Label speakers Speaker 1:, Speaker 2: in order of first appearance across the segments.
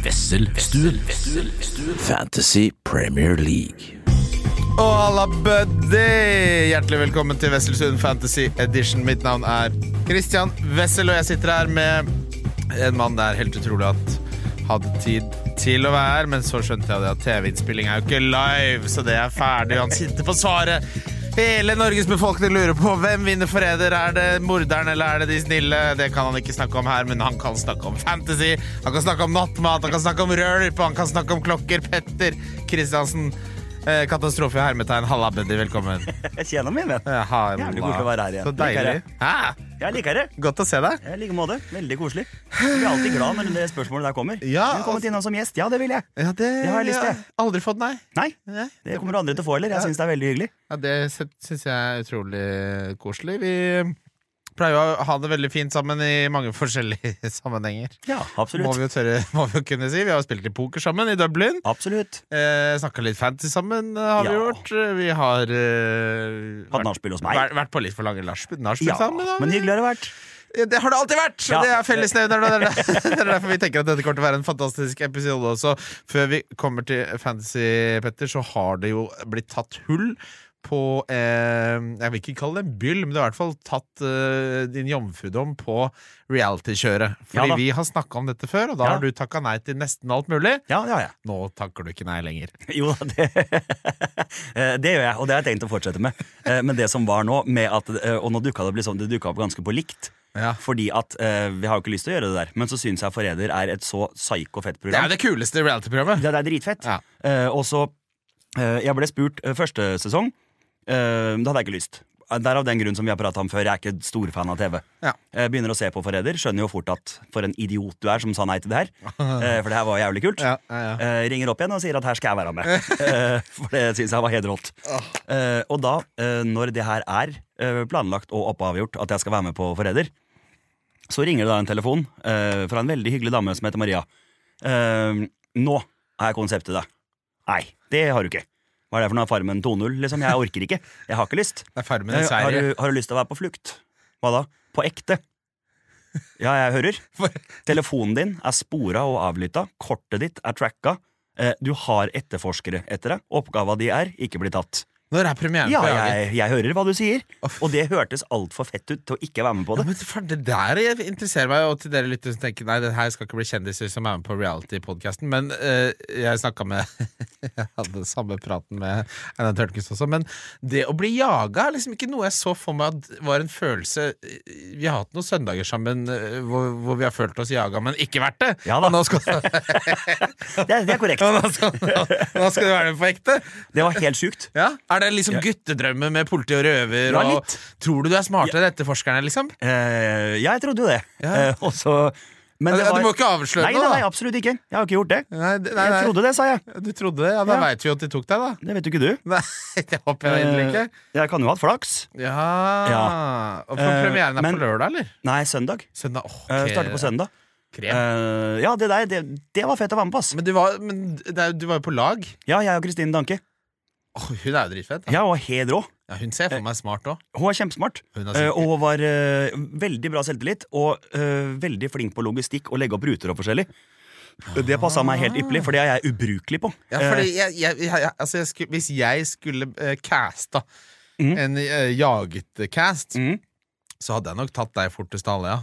Speaker 1: Vesselstuen. Fantasy Premier League.
Speaker 2: Og halla, buddy! Hjertelig velkommen til Wesselsund Fantasy Edition. Mitt navn er Christian Wessel, og jeg sitter her med en mann det er helt utrolig at hadde tid til å være her, men så skjønte jeg det at TV-innspilling er jo ikke live, så det er ferdig. Han sitter på svaret. Hele Norges befolkning lurer på hvem vinner forræder. Er det morderen eller er det de snille? Det kan han ikke snakke om her, men han kan snakke om fantasy. Han kan snakke om nattmat, han kan snakke om rølp, han kan snakke om klokker. Petter Kristiansen. Eh, Katastrofe i hermetegn. Halla, Buddy. Velkommen.
Speaker 3: Jeg kjenner min, vet du.
Speaker 2: Eh, halla.
Speaker 3: Jævlig koselig å være her igjen.
Speaker 2: Så deilig.
Speaker 3: Liker
Speaker 2: Hæ?
Speaker 3: Jeg liker det.
Speaker 2: Godt å se deg.
Speaker 3: Jeg liker måte. Veldig koselig. Jeg blir alltid glad når det spørsmålet der kommer.
Speaker 2: Ja, altså-
Speaker 3: du kommet innom som gjest. Ja, det vil jeg.
Speaker 2: Ja, det,
Speaker 3: Det har jeg lyst til.
Speaker 2: Aldri fått nei.
Speaker 3: Nei,
Speaker 2: Nei.
Speaker 3: det kommer andre til å få heller. Jeg syns det er veldig hyggelig.
Speaker 2: Ja, det syns jeg er utrolig koselig. Vi pleier jo å ha det veldig fint sammen i mange forskjellige sammenhenger.
Speaker 3: Ja,
Speaker 2: Må
Speaker 3: absolutt.
Speaker 2: vi jo tørre må vi jo kunne si. Vi har jo spilt i poker sammen i Dublin.
Speaker 3: Absolutt.
Speaker 2: Eh, Snakka litt fantasy sammen, eh, har vi
Speaker 3: Ja.
Speaker 2: gjort. Eh, Vi har eh, vært,
Speaker 3: Hatt nachspiel hos meg.
Speaker 2: vært, vært på litt for lange nachspiel nachspiel
Speaker 3: Ja,
Speaker 2: sammen. da.
Speaker 3: men hyggelig har det vært.
Speaker 2: Ja, Det har det alltid vært!
Speaker 3: Ja.
Speaker 2: Det er fellesnevneren. og Det, er der- det er derfor vi tenker at dette kommer til å være en fantastisk episode også. Før vi kommer til Fantasy, Petter, så har det jo blitt tatt hull på eh, Jeg vil ikke kalle det en byll, men det er i hvert fall tatt eh, din jomfrudom på reality-kjøret.
Speaker 3: Ja
Speaker 2: Fordi
Speaker 3: da.
Speaker 2: vi har snakka om dette før, og da
Speaker 3: Ja.
Speaker 2: har du takka nei til nesten alt mulig.
Speaker 3: Ja, det har jeg.
Speaker 2: Nå takker du ikke nei lenger.
Speaker 3: Jo da, det, Eh, det gjør jeg, og det har jeg tenkt å fortsette med. Eh, Men det som var nå, med at, eh, og nå dukka det, opp litt sånn- det dukket opp ganske på likt.
Speaker 2: Ja.
Speaker 3: Fordi at eh, vi har jo ikke lyst til å gjøre det der. Men så syns jeg Forræder er et så psyko-fett
Speaker 2: Det er
Speaker 3: program.
Speaker 2: jo det kuleste reality-programmet.
Speaker 3: Det, det er dritfett.
Speaker 2: Ja.
Speaker 3: Eh, og så eh, Jeg ble spurt eh, første sesong. Eh, da hadde jeg ikke lyst. Eh, Det er av den grunn som vi har prata om før. Jeg er ikke storfan av TV.
Speaker 2: Ja.
Speaker 3: Jeg Eh, begynner å se på Forræder. Skjønner jo fort at for en idiot du er som sa nei til det her. Eh, for det her var jævlig kult.
Speaker 2: Ja, ja, ja.
Speaker 3: Eh, ringer opp igjen og sier at her skal jeg være med. Eh, for det syns jeg var hederholdt. Eh, og da, eh, når det her er eh, planlagt og oppavgjort at jeg skal være med på Forræder, så ringer det da en telefon eh, fra en veldig hyggelig dame som heter Maria. Eh, nå er konseptet det. Nei, det har du ikke. Hva er det for noe Farmen 2.0? Liksom, jeg orker ikke. Jeg har ikke lyst.
Speaker 2: Det er Farmen i
Speaker 3: Eh, har,
Speaker 2: Sverige.
Speaker 3: du, har du lyst til å være på flukt? Hva da? På ekte. Ja, jeg hører. Telefonen din er spora og avlytta. Kortet ditt er tracka. Eh, Du har etterforskere etter deg. Oppgava di er ikke bli tatt.
Speaker 2: Når er premieren
Speaker 3: Ja,
Speaker 2: på Jager?
Speaker 3: jeg, jeg hører hva du sier.
Speaker 2: Uff.
Speaker 3: Og det hørtes altfor fett ut til å ikke være med på
Speaker 2: Ja,
Speaker 3: det.
Speaker 2: men for det der interesserer meg, og til dere lyttere som tenker Nei, det her skal ikke bli kjendiser som er med på reality-podkasten, men eh, jeg snakka med Jeg hadde samme praten med Einar Tørnquist også, men det å bli jaga er liksom ikke noe jeg så for meg at var en følelse eh, Vi har hatt noen søndager sammen eh, hvor, hvor vi har følt oss jaga, men ikke vært det!
Speaker 3: Ja da.
Speaker 2: Og Nå skal,
Speaker 3: Det, er- det er korrekt.
Speaker 2: nå, skal, nå, nå skal du være med på ekte!
Speaker 3: Det var helt sjukt.
Speaker 2: Ja? Er det liksom guttedrømmer med politi og røver?
Speaker 3: Ja,
Speaker 2: og,
Speaker 3: litt.
Speaker 2: tror du du er smartere enn etterforskerne, liksom?
Speaker 3: Eh, ja, jeg trodde jo det.
Speaker 2: Ja.
Speaker 3: Eh, og så men
Speaker 2: Ja, du må ikke avsløre
Speaker 3: nei,
Speaker 2: noe,
Speaker 3: nei,
Speaker 2: da.
Speaker 3: nei, absolutt ikke. Jeg har ikke gjort det.
Speaker 2: Nei, det- nei,
Speaker 3: Jeg
Speaker 2: nei.
Speaker 3: trodde det, sa jeg.
Speaker 2: Du trodde det? Ja, Da
Speaker 3: Ja.
Speaker 2: veit vi jo at de tok deg, da.
Speaker 3: Det vet jo ikke du.
Speaker 2: Nei, det håper jeg egentlig ikke.
Speaker 3: Eh, Jeg kan jo ha hatt flaks.
Speaker 2: Ja, Og for
Speaker 3: Eh,
Speaker 2: premieren er
Speaker 3: men-
Speaker 2: på lørdag, eller?
Speaker 3: Nei, søndag.
Speaker 2: Søndag. åh,
Speaker 3: Eh,
Speaker 2: ok.
Speaker 3: Starter på søndag.
Speaker 2: Krem.
Speaker 3: Eh, ja, det der, det, det var fett å være med på, ass.
Speaker 2: Men, du var, men det er- du var jo på lag.
Speaker 3: Ja, jeg og Kristine Danke.
Speaker 2: Åh, hun er jo dritfett. Da.
Speaker 3: Jeg var helt rå.
Speaker 2: Ja, hun ser for
Speaker 3: Eh.
Speaker 2: meg smart òg.
Speaker 3: Hun var kjempesmart.
Speaker 2: Hun er
Speaker 3: eh,
Speaker 2: sikker.
Speaker 3: og hun var eh, veldig bra selvtillit, og eh, veldig flink på logistikk og legge opp ruter og forskjellig. Det passa meg helt ypperlig, for det er jeg ubrukelig på.
Speaker 2: Ja, fordi
Speaker 3: Eh.
Speaker 2: jeg, jeg, jeg, jeg, altså jeg skulle, hvis jeg skulle eh, casta
Speaker 3: Mhm.
Speaker 2: en eh, jaget-cast,
Speaker 3: Mhm.
Speaker 2: så hadde jeg nok tatt deg fortest av alle, ja.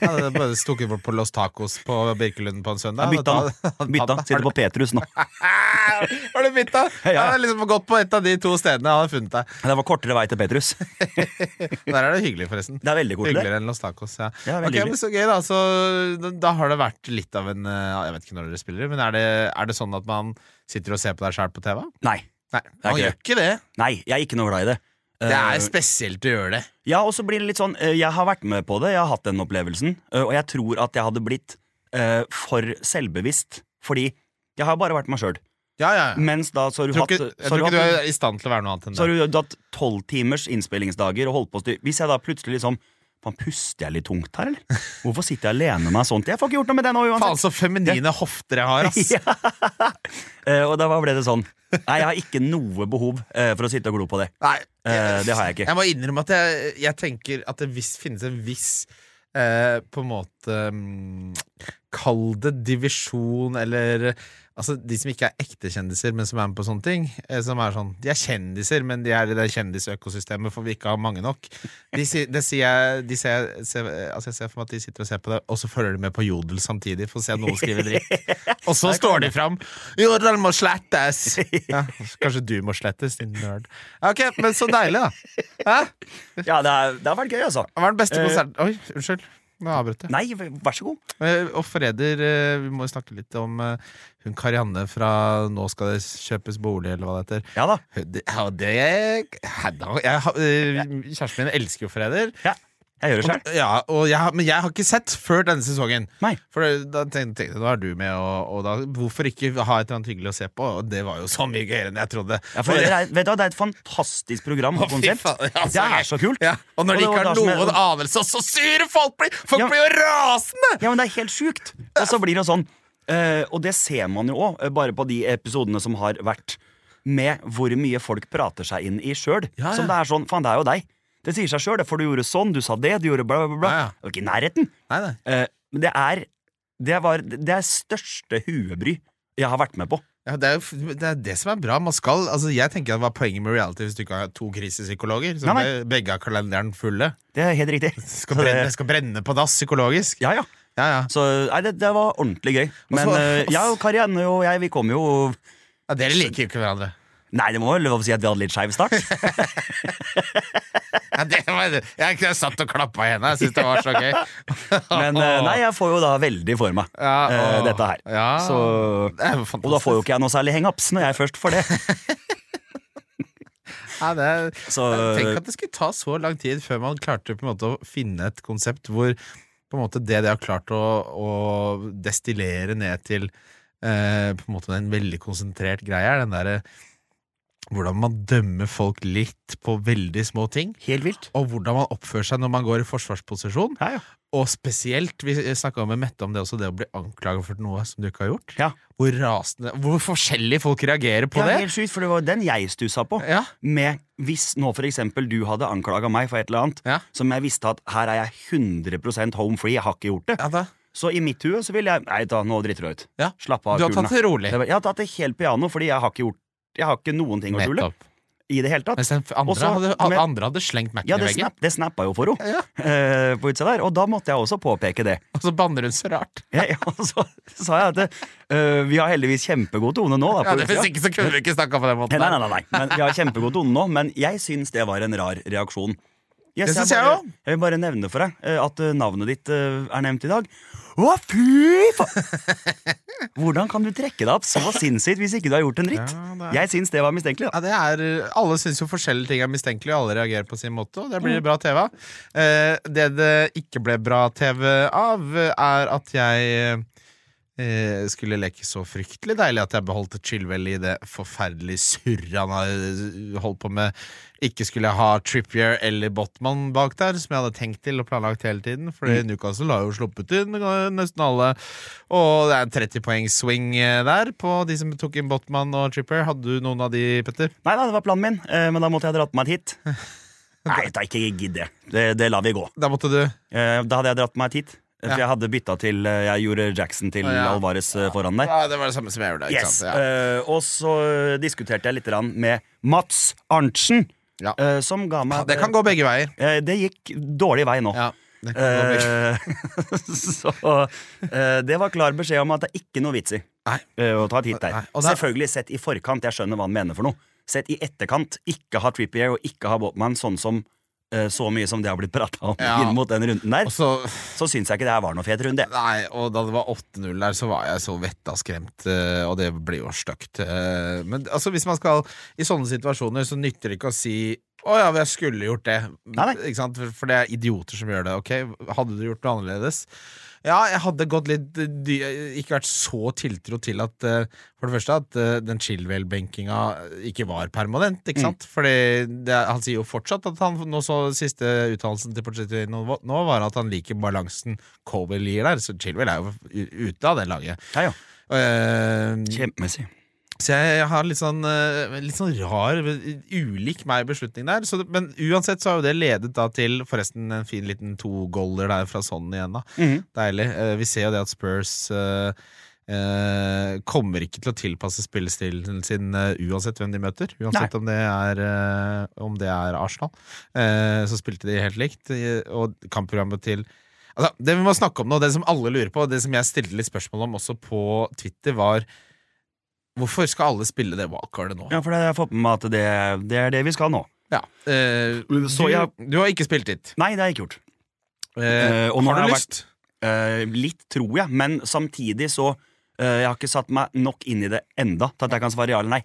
Speaker 2: Jeg hadde bare stukket bort på Los Tacos på Birkelund på en søndag.
Speaker 3: Jeg bytta,
Speaker 2: Hadde- hadde tatt
Speaker 3: Eh, bytta.
Speaker 2: deg.
Speaker 3: Sitter på Petrus nå.
Speaker 2: Ah, Har du bytta?
Speaker 3: Ja.
Speaker 2: Jeg hadde liksom gått på et av de to stedene jeg hadde funnet deg.
Speaker 3: Det var kortere vei til Petrus.
Speaker 2: Der er det hyggelig, forresten.
Speaker 3: Det er veldig koselig.
Speaker 2: Hyggeligere enn Los Tacos. Ja.
Speaker 3: Ja,
Speaker 2: Ok,
Speaker 3: veldig
Speaker 2: men så gøy Da så da- da har det vært litt av en eh, Jeg vet ikke når dere spiller, men er det, er det sånn at man sitter og ser på deg sjæl på TV?
Speaker 3: Nei,
Speaker 2: Nei,
Speaker 3: er
Speaker 2: man
Speaker 3: ikke
Speaker 2: gjør ikke det.
Speaker 3: nei, jeg er ikke noe glad i det.
Speaker 2: Det
Speaker 3: Eh,
Speaker 2: er spesielt å gjøre det.
Speaker 3: Ja, og så blir det litt sånn eh, Jeg har vært med på det, jeg har hatt den opplevelsen eh, Og jeg tror at jeg hadde blitt eh, for selvbevisst Fordi jeg har bare vært meg selv
Speaker 2: Ja, ja, ja.
Speaker 3: Mens da så har
Speaker 2: Jeg
Speaker 3: du
Speaker 2: tror
Speaker 3: hatt
Speaker 2: ikke, jeg
Speaker 3: så har
Speaker 2: tror
Speaker 3: du
Speaker 2: ikke du
Speaker 3: hatt-
Speaker 2: er i stand til å være noe annet enn
Speaker 3: så
Speaker 2: det.
Speaker 3: har du hatt 12 timers innspillingsdager og holdt på å styr Hvis jeg da plutselig liksom Faen, puster jeg litt tungt her, eller? Hvorfor sitter jeg alene med meg sånt? Jeg får ikke gjort noe med det nå
Speaker 2: Faen,
Speaker 3: uansett
Speaker 2: så feminine hofter jeg har, ass!
Speaker 3: Eh, Og da ble det sånn Nei, jeg har ikke noe behov eh, for å sitte og glo på det
Speaker 2: Nei,
Speaker 3: Eh, Det har jeg ikke
Speaker 2: Jeg må innrømme at jeg, jeg tenker at det visst finnes en viss eh, på en måte mm, Kall det divisjon, eller Altså, de som ikke er ekte kjendiser, men som er med på sånne ting. eh, Som er sånn De er kjendiser, men de er i det kjendisøkosystemet, for vi ikke har mange nok. De, si- det sier jeg de ser, ser, Altså, jeg ser for meg at de sitter og ser på det, og så følger de med på Jodel samtidig, for å se noen skrive dritt. Og så står de fram. Jodel må slettes! Ja, kanskje du må slettes, din nerd. Ja, Ok, men så deilig, da. Hæ?
Speaker 3: Ja, det, er, det har vært gøy, altså.
Speaker 2: Hva er den beste
Speaker 3: Eh.
Speaker 2: konserten Oi, unnskyld. Nå avbrøt jeg.
Speaker 3: Nei, vær så god.
Speaker 2: Eh, Og forræder, eh, vi må jo snakke litt om eh, hun Karianne fra Nå skal det kjøpes bolig, eller hva det heter.
Speaker 3: Ja da.
Speaker 2: Hun- det- Ja, det Hedda jeg, har- eh, Kjæresten min elsker jo forræder.
Speaker 3: Ja, jeg gjør det sjøl.
Speaker 2: Ja, og jeg, har- men jeg har ikke sett før denne sesongen.
Speaker 3: Nei.
Speaker 2: For da tenkte tenkte jeg, nå er du med, og, og da, hvorfor ikke ha et eller annet hyggelig å se på? Og det var jo så mye gøyere enn jeg trodde.
Speaker 3: Ja, for det, er, vet du, hva, det er et fantastisk program og
Speaker 2: Å, fy
Speaker 3: konsept.
Speaker 2: faen, altså,
Speaker 3: Det er
Speaker 2: jeg-
Speaker 3: så kult.
Speaker 2: Ja, og når de
Speaker 3: det
Speaker 2: ikke
Speaker 3: var
Speaker 2: har
Speaker 3: da som
Speaker 2: noen
Speaker 3: jeg-
Speaker 2: anelse, og så sure folk blir! Folk
Speaker 3: Ja.
Speaker 2: blir jo rasende!
Speaker 3: Ja, men det er helt sjukt. Og så blir det sånn. eh, og det ser man jo òg, bare på de episodene som har vært. Med hvor mye folk prater seg inn i sjøl.
Speaker 2: Ja, ja.
Speaker 3: Som det er sånn, faen, det er jo deg. Det sier seg sjøl, for du gjorde sånn, du sa det, du gjorde bla, bla, bla.
Speaker 2: Ja, ja.
Speaker 3: Det er jo ikke i nærheten.
Speaker 2: Nei, nei.
Speaker 3: Eh, Men det er det, var, det er største huebry jeg har vært med på.
Speaker 2: Ja, det, er jo, f- det er det som er bra. Man skal, altså jeg tenker at Hva er poenget med reality hvis du ikke har to krisepsykologer? Som
Speaker 3: Nei,
Speaker 2: be- begge har kalenderen fulle.
Speaker 3: Det er helt riktig.
Speaker 2: Skal
Speaker 3: Så det-
Speaker 2: brenne, skal brenne på dass psykologisk.
Speaker 3: Ja, ja.
Speaker 2: Ja, ja.
Speaker 3: Så nei, det, det var ordentlig gøy. Men
Speaker 2: så-
Speaker 3: eh, jeg og Karianne og jeg, vi kom jo
Speaker 2: ja Dere liker jo ikke hverandre.
Speaker 3: Nei, det må være lov å si at vi hadde litt skeiv start.
Speaker 2: Ja, det var, jeg, jeg satt og klappa i henda. Jeg syntes det var så gøy.
Speaker 3: Men eh, nei, jeg får jo da veldig for meg
Speaker 2: Ja,
Speaker 3: eh,
Speaker 2: åh. Ah.
Speaker 3: dette her.
Speaker 2: Ja.
Speaker 3: Så,
Speaker 2: Det er jo
Speaker 3: og da får
Speaker 2: fantastisk.
Speaker 3: jo ikke jeg noe særlig hangups når jeg først får det.
Speaker 2: Ja, det er,
Speaker 3: Så
Speaker 2: Tenk at det skulle ta så lang tid før man klarte på en måte å finne et konsept hvor på en måte det de har klart å, å destillere ned til eh, på en måte en veldig konsentrert greie, er den derre hvordan man dømmer folk litt på veldig små ting.
Speaker 3: helt vilt.
Speaker 2: Og hvordan man oppfører seg når man går i forsvarsposisjon.
Speaker 3: Ja, ja.
Speaker 2: Og spesielt, vi snakka med Mette om det også, det å bli anklaget for noe som du ikke har gjort.
Speaker 3: Ja.
Speaker 2: Hvor rasende Hvor forskjellig folk reagerer på
Speaker 3: Ja,
Speaker 2: det.
Speaker 3: helt sjukt, for det var den jeg stussa på.
Speaker 2: Ja,
Speaker 3: Med hvis nå for eksempel du hadde anklaga meg for et eller annet
Speaker 2: Ja.
Speaker 3: som jeg visste at her er jeg 100 home free, jeg har ikke gjort det.
Speaker 2: ja da.
Speaker 3: Så i mitt hue så ville jeg Nei, da, nå driter du deg ut.
Speaker 2: Ja.
Speaker 3: Slapp av.
Speaker 2: Du har
Speaker 3: kulene.
Speaker 2: tatt det rolig.
Speaker 3: Jeg bare, Jeg har tatt det helt piano, fordi jeg har ikke gjort Jeg har ikke noen ting å skjule.
Speaker 2: Nettopp.
Speaker 3: I det hele tatt.
Speaker 2: Mens den f- andre,
Speaker 3: Og så-
Speaker 2: hadde, alle
Speaker 3: men-
Speaker 2: andre hadde slengt Mac-en
Speaker 3: Ja,
Speaker 2: i
Speaker 3: det,
Speaker 2: veggen.
Speaker 3: snap, det snappa jo for henne.
Speaker 2: Ja,
Speaker 3: eh, på utsida der. Og da måtte jeg også påpeke det.
Speaker 2: og så banner hun så rart.
Speaker 3: Jeg, og så sa jeg at eh, vi har heldigvis kjempegod tone nå. Da,
Speaker 2: Ja,
Speaker 3: på
Speaker 2: det Hvis
Speaker 3: utsida.
Speaker 2: ikke så kunne du ikke snakka på den måten.
Speaker 3: Nei, nei,
Speaker 2: der.
Speaker 3: nei, nei. Men vi har kjempegod tone nå, men jeg syns det var en rar reaksjon. Yes,
Speaker 2: Det syns jeg
Speaker 3: bare-
Speaker 2: også.
Speaker 3: Jeg vil bare nevne for deg eh, at eh, navnet ditt eh, er nevnt i dag. Å, fy faen! Hvordan kan du trekke deg opp så sinnssykt hvis ikke du har gjort en dritt?
Speaker 2: Ja, det er-
Speaker 3: Jeg syns det var mistenkelig. da.
Speaker 2: Ja, det er, eh, alle syns jo forskjellige ting er mistenkelige, og alle reagerer på sin måte, og det blir bra TV av. Eh, det det ikke ble bra TV av, eh, er at jeg eh, skulle leke så fryktelig deilig at jeg beholdt et skyldvell i det forferdelige surret han har eh, holdt på med. Ikke skulle jeg ha Trippier eller Botman bak der, som jeg hadde tenkt til og planlagt hele tiden, Fordi
Speaker 3: Mm.
Speaker 2: Newcastle har jo sluppet inn eh, nesten alle. Og det er en 30 poeng swing eh, der på de som tok inn Botman og Trippier. Hadde du noen av de, Petter?
Speaker 3: Nei da, det var planen min, eh, men da måtte jeg ha dratt meg hit. Nei, da ikke gidd det. det. Det lar vi gå.
Speaker 2: Da måtte du
Speaker 3: Eh, Da hadde jeg dratt meg hit. eh,
Speaker 2: Ja.
Speaker 3: For jeg hadde bytta til eh, Jeg gjorde Jackson til
Speaker 2: Å, ja.
Speaker 3: Alvarez eh, foran der.
Speaker 2: Ja, Det var det samme som jeg gjorde. Ikke
Speaker 3: Yes.
Speaker 2: sant?
Speaker 3: eh, og så eh, diskuterte jeg litt grann med Mats Arntzen,
Speaker 2: Ja. Ja.
Speaker 3: eh, som ga meg
Speaker 2: Det kan gå begge veier.
Speaker 3: Eh, det gikk dårlig vei nå.
Speaker 2: Ja, det kan gå begge.
Speaker 3: Eh, så eh, det var klar beskjed om at det er ikke noe vits i
Speaker 2: Nei.
Speaker 3: eh, å ta et hit der.
Speaker 2: Nei, og det er-
Speaker 3: Selvfølgelig sett i forkant, jeg skjønner hva han mener for noe. Sett i etterkant, ikke ha Trippier og ikke ha Båtman sånn som eh, så mye som det har blitt prata om
Speaker 2: Ja.
Speaker 3: inn mot den runden der,
Speaker 2: Og så,
Speaker 3: så syns jeg ikke det her var noe fet runde.
Speaker 2: nei, og da det var 8-0 der, så var jeg så vettaskremt, eh, og det blir jo stygt. eh, Men altså, hvis man skal i sånne situasjoner, så nytter det ikke å si å ja, jeg skulle gjort det.
Speaker 3: Nei, nei.
Speaker 2: Ikke sant? For- For det er idioter som gjør det. Ok, Hadde du gjort noe annerledes? Ja, jeg hadde gått litt eh, dy Ikke vært så tiltro til at eh, For det første at eh, den Chilwell-benkinga eh, ikke var permanent,
Speaker 3: Mm.
Speaker 2: ikke sant? Fordi det, han sier jo fortsatt at han nå så Siste uttalelsen til Porcettino nå var at han liker balansen Cowell gir der, så Chilwell er jo u- ute av det laget.
Speaker 3: Ja, ja.
Speaker 2: Eh,
Speaker 3: Kjempemessig.
Speaker 2: Så jeg, jeg har litt sånn, eh, litt sånn rar, ulik meg beslutning der. Så, det- men uansett så har jo det ledet da til forresten en fin liten to-goller der fra sånn igjen, da.
Speaker 3: Mhm.
Speaker 2: Deilig. Eh, Vi ser jo det at Spurs eh, eh, kommer ikke til å tilpasse spillestilen sin eh, uansett hvem de møter. Uansett om det, er, eh, om det er Arsenal. Eh, så spilte de helt likt, eh, og kampprogrammet til Altså, det vi må snakke om nå, det som alle lurer på, og det som jeg stilte litt spørsmål om også på Twitter, var Hvorfor skal alle spille det wildcardet nå?
Speaker 3: Ja, for det har jeg fått med meg at det, det er det vi skal nå.
Speaker 2: Ja. Eh, du,
Speaker 3: Så jeg-
Speaker 2: du har ikke spilt dit.
Speaker 3: Nei, det har jeg ikke
Speaker 2: Eh,
Speaker 3: gjort. Eh, og
Speaker 2: har
Speaker 3: når
Speaker 2: du
Speaker 3: det har
Speaker 2: lyst?
Speaker 3: Eh, litt, tror jeg, men samtidig så eh, Jeg har ikke satt meg nok inn i det enda til at jeg kan svare ja eller nei.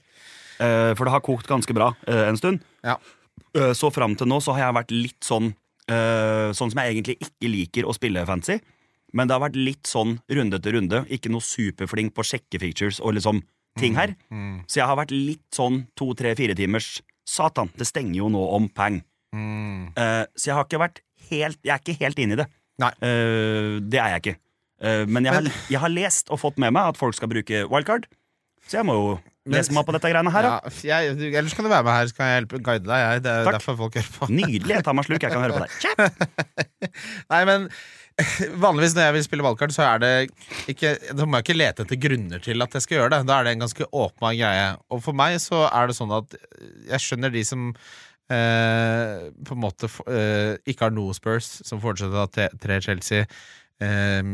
Speaker 3: Eh, for det har kokt ganske bra eh, en stund.
Speaker 2: Ja.
Speaker 3: Eh, så fram til nå så har jeg vært litt sånn eh, Sånn som jeg egentlig ikke liker å spille fancy. Men det har vært litt sånn runde til runde. Ikke noe superflink på å sjekke features og liksom
Speaker 2: Mm,
Speaker 3: ting her. Så jeg har vært litt sånn to, tre, fire timers Satan, det stenger jo nå om pang. Eh, så jeg har ikke vært helt Jeg er ikke helt inne i det.
Speaker 2: Mm. Nei.
Speaker 3: Eh, det er jeg ikke. Eh, men jeg,
Speaker 2: Men-
Speaker 3: har, jeg har lest og fått med meg at folk skal bruke wildcard, så jeg må jo
Speaker 2: Men-
Speaker 3: lese meg opp på dette greiene her.
Speaker 2: Ja,
Speaker 3: da.
Speaker 2: jeg, du, ellers kan du være med her, så kan jeg hjelpe guide deg. Jeg. Det er
Speaker 3: Takk. Mm.
Speaker 2: derfor folk hører på.
Speaker 3: Nydelig. Jeg tar meg en slurk. Jeg kan høre på deg. Kjapp.
Speaker 2: Nei, men Vanligvis når jeg vil spille valgkart, så er det ikke Da må jeg ikke lete etter grunner til at jeg skal gjøre det. Da er det en ganske åpen greie. Og for meg så er det sånn at jeg skjønner de som eh, på en måte f- eh, ikke har noe Spurs, som fortsetter å ha te- tre Chelsea. eh,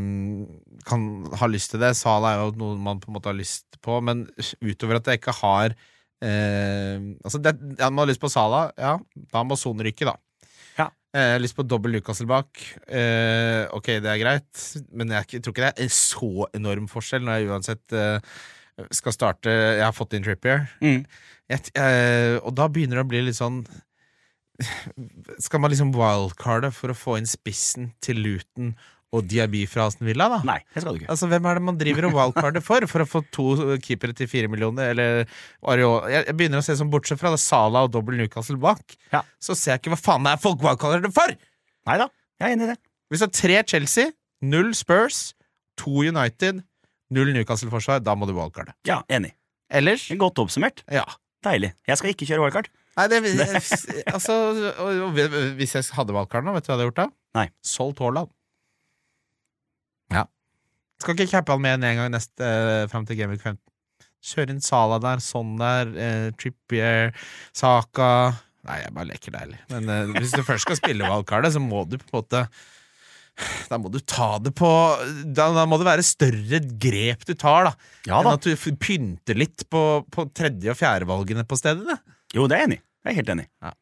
Speaker 2: kan ha lyst til det. Sala er jo noe man på en måte har lyst på, men utover at jeg ikke har eh, Altså, det, ja, man har lyst på Sala, ja, da må Son ryke, da. Eh, Jeg har lyst på dobbel Lucasel bak. Eh, ok, det er greit, men jeg er ikke- tror ikke det er en så enorm forskjell når jeg uansett eh, skal starte Jeg har fått inn Trippier,
Speaker 3: Mm.
Speaker 2: jeg, t- eh, og da begynner det å bli litt sånn Skal man liksom wildcarde for å få inn spissen til Luton og Diaby fra Aston Villa, da?
Speaker 3: Nei, det skal du ikke.
Speaker 2: Altså, Hvem er det man driver og wildcarder for? For å få to keepere til fire millioner? Eller Areola Jeg jeg begynner å se som bortsett fra det Sala og dobbel Newcastle bak,
Speaker 3: Ja.
Speaker 2: så ser jeg ikke hva faen det er folk wildcarder det for!
Speaker 3: Nei da. Jeg er enig i det.
Speaker 2: Hvis det er tre Chelsea, null Spurs, to United, null Newcastle-forsvar, da må du wildcarde.
Speaker 3: Ja, Enig.
Speaker 2: Ellers
Speaker 3: Godt oppsummert.
Speaker 2: ja.
Speaker 3: Deilig. Jeg skal ikke kjøre wildcard.
Speaker 2: Nei, det, altså, og, og, hvis jeg hadde wildcard nå, vet du hva jeg hadde gjort da?
Speaker 3: Nei.
Speaker 2: Solgt Haaland. Ja. Skal ikke cappe han med en gang neste, eh, fram til Gameweek 15. Kjør inn Sala der, sånn der, eh, Trippier, Saka Nei, jeg bare leker deilig. Men eh, hvis du først skal spille wildcardet, så må du på en måte Da må du ta det på Da, da må det være større grep du tar, da.
Speaker 3: Ja
Speaker 2: Enn
Speaker 3: da.
Speaker 2: at du f- pynter litt på, på tredje- og fjerdevalgene på stedet. da.
Speaker 3: Jo, det er jeg enig. i. Jeg er helt enig.
Speaker 2: Eh,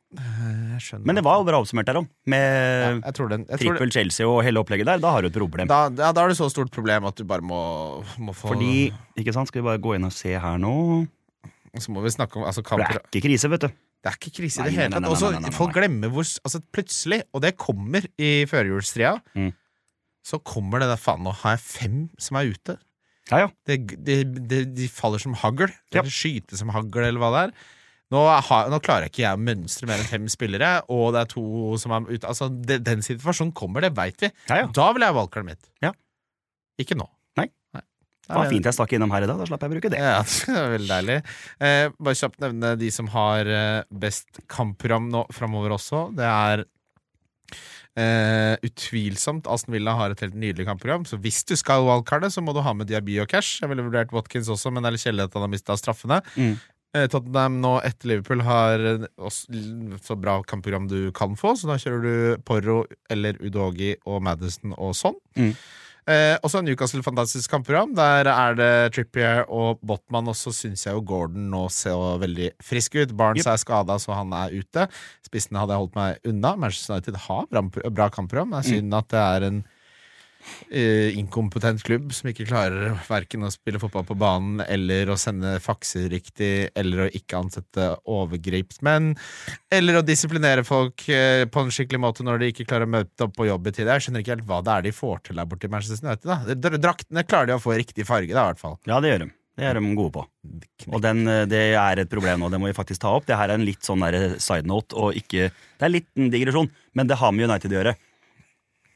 Speaker 2: Jeg skjønner.
Speaker 3: Men det var jo bra oppsummert der om.
Speaker 2: Ja,
Speaker 3: Med
Speaker 2: jeg tror den, jeg tror det-
Speaker 3: Ehm, trippel Chelsea og hele opplegget der. Da har du et problem.
Speaker 2: da, ja, da er det så stort problem at du bare må, må få
Speaker 3: Fordi Ikke sant? Skal vi bare gå inn og se her nå?
Speaker 2: Så må vi snakke om altså,
Speaker 3: For det
Speaker 2: kamper
Speaker 3: er ikke krise, vet du.
Speaker 2: Det er ikke krise i
Speaker 3: Nei,
Speaker 2: det
Speaker 3: nei,
Speaker 2: hele
Speaker 3: nei,
Speaker 2: tatt.
Speaker 3: nei,
Speaker 2: Også,
Speaker 3: nei, nei, nei,
Speaker 2: folk
Speaker 3: nei.
Speaker 2: glemmer hvor s- altså, Plutselig, og det kommer i førjulstria,
Speaker 3: Mm.
Speaker 2: så kommer det der faen Nå har jeg fem som er ute.
Speaker 3: Ja, ja.
Speaker 2: Det, det, det, de faller som hagl.
Speaker 3: Ja.
Speaker 2: Eller skyter som hagl, eller hva det er. Nå, har, nå klarer jeg ikke jeg å mønstre mer enn fem spillere, og det er to som er ute. Altså, det, den situasjonen kommer, det veit vi.
Speaker 3: ja, ja.
Speaker 2: Da vil jeg ha valgkartet mitt.
Speaker 3: Ja.
Speaker 2: Ikke nå.
Speaker 3: Nei. Det var fint jeg stakk innom her i dag. Da slapp jeg å bruke det.
Speaker 2: Ja, det er veldig deilig. Eh, bare kjapt nevne de som har eh, best kampprogram nå framover også. Det er eh, utvilsomt Aston Villa har et helt nydelig kampprogram, så hvis du skal wildcarde, så må du ha med Diaby og Cash. Jeg ville vurdert Watkins også, men det er litt kjedelig at han har mista straffene.
Speaker 3: Mm.
Speaker 2: Eh, Tottenham nå etter Liverpool har eh, også, l- så bra kampprogram du kan få, så da kjører du Porro eller Udogi og Madison og sånn.
Speaker 3: Mm.
Speaker 2: Eh, også Newcastle fantastisk kampprogram. Der er det Trippier og Botman. Og så syns jeg jo Gordon nå ser jo veldig frisk ut. Barnes er skada, så han er ute. Spissene hadde jeg holdt meg unna. Manchester United har bra, bra kampprogram. Det er synd at det er en eh, inkompetent klubb som ikke klarer verken å spille fotball på banen eller å sende fakser riktig, eller å ikke ansette overgripsmenn, eller å disiplinere folk eh, på en skikkelig måte når de ikke klarer å møte opp på jobb i tide. Jeg skjønner ikke helt hva det er de får til der borte i Manchester United. da. Dr- Draktene klarer de å få riktig farge, da, i hvert fall.
Speaker 3: Ja, det gjør de. Det er de gode på. Og den, eh, det er et problem nå, det må vi faktisk ta opp. Det her er en litt sånn der side note, og ikke Det er litt en digresjon, men det har med United å gjøre.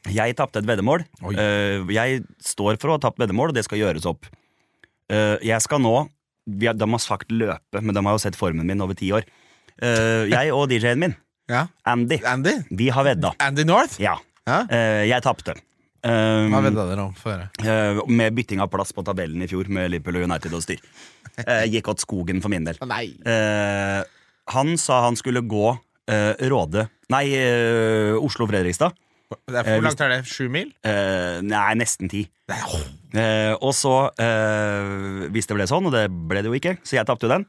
Speaker 3: Jeg tapte et veddemål.
Speaker 2: Oi.
Speaker 3: Eh, Jeg står for å ha tapt veddemål, og det skal gjøres opp. Eh, Jeg skal nå vi har, De har sagt løpe, men de har jo sett formen min over ti år. Eh, jeg og DJ-en min,
Speaker 2: Ja.
Speaker 3: Andy,
Speaker 2: Andy?
Speaker 3: vi har vedda.
Speaker 2: Andy North?
Speaker 3: Ja.
Speaker 2: Ja?
Speaker 3: Eh, jeg tapte. Eh,
Speaker 2: Hva vedda dere om? Få høre.
Speaker 3: eh, med bytting av plass på tabellen i fjor med Liverpool og United og styr. Eh, gikk åt skogen for min del.
Speaker 2: Nei.
Speaker 3: Eh, han sa han skulle gå eh, Råde Nei, eh, Oslo-Fredrikstad.
Speaker 2: Det er, hvor langt er det? Sju mil?
Speaker 3: Eh, nei, nesten ti.
Speaker 2: Nei, åh.
Speaker 3: Eh, og så, eh, hvis det ble sånn, og det ble det jo ikke, så jeg tapte jo den.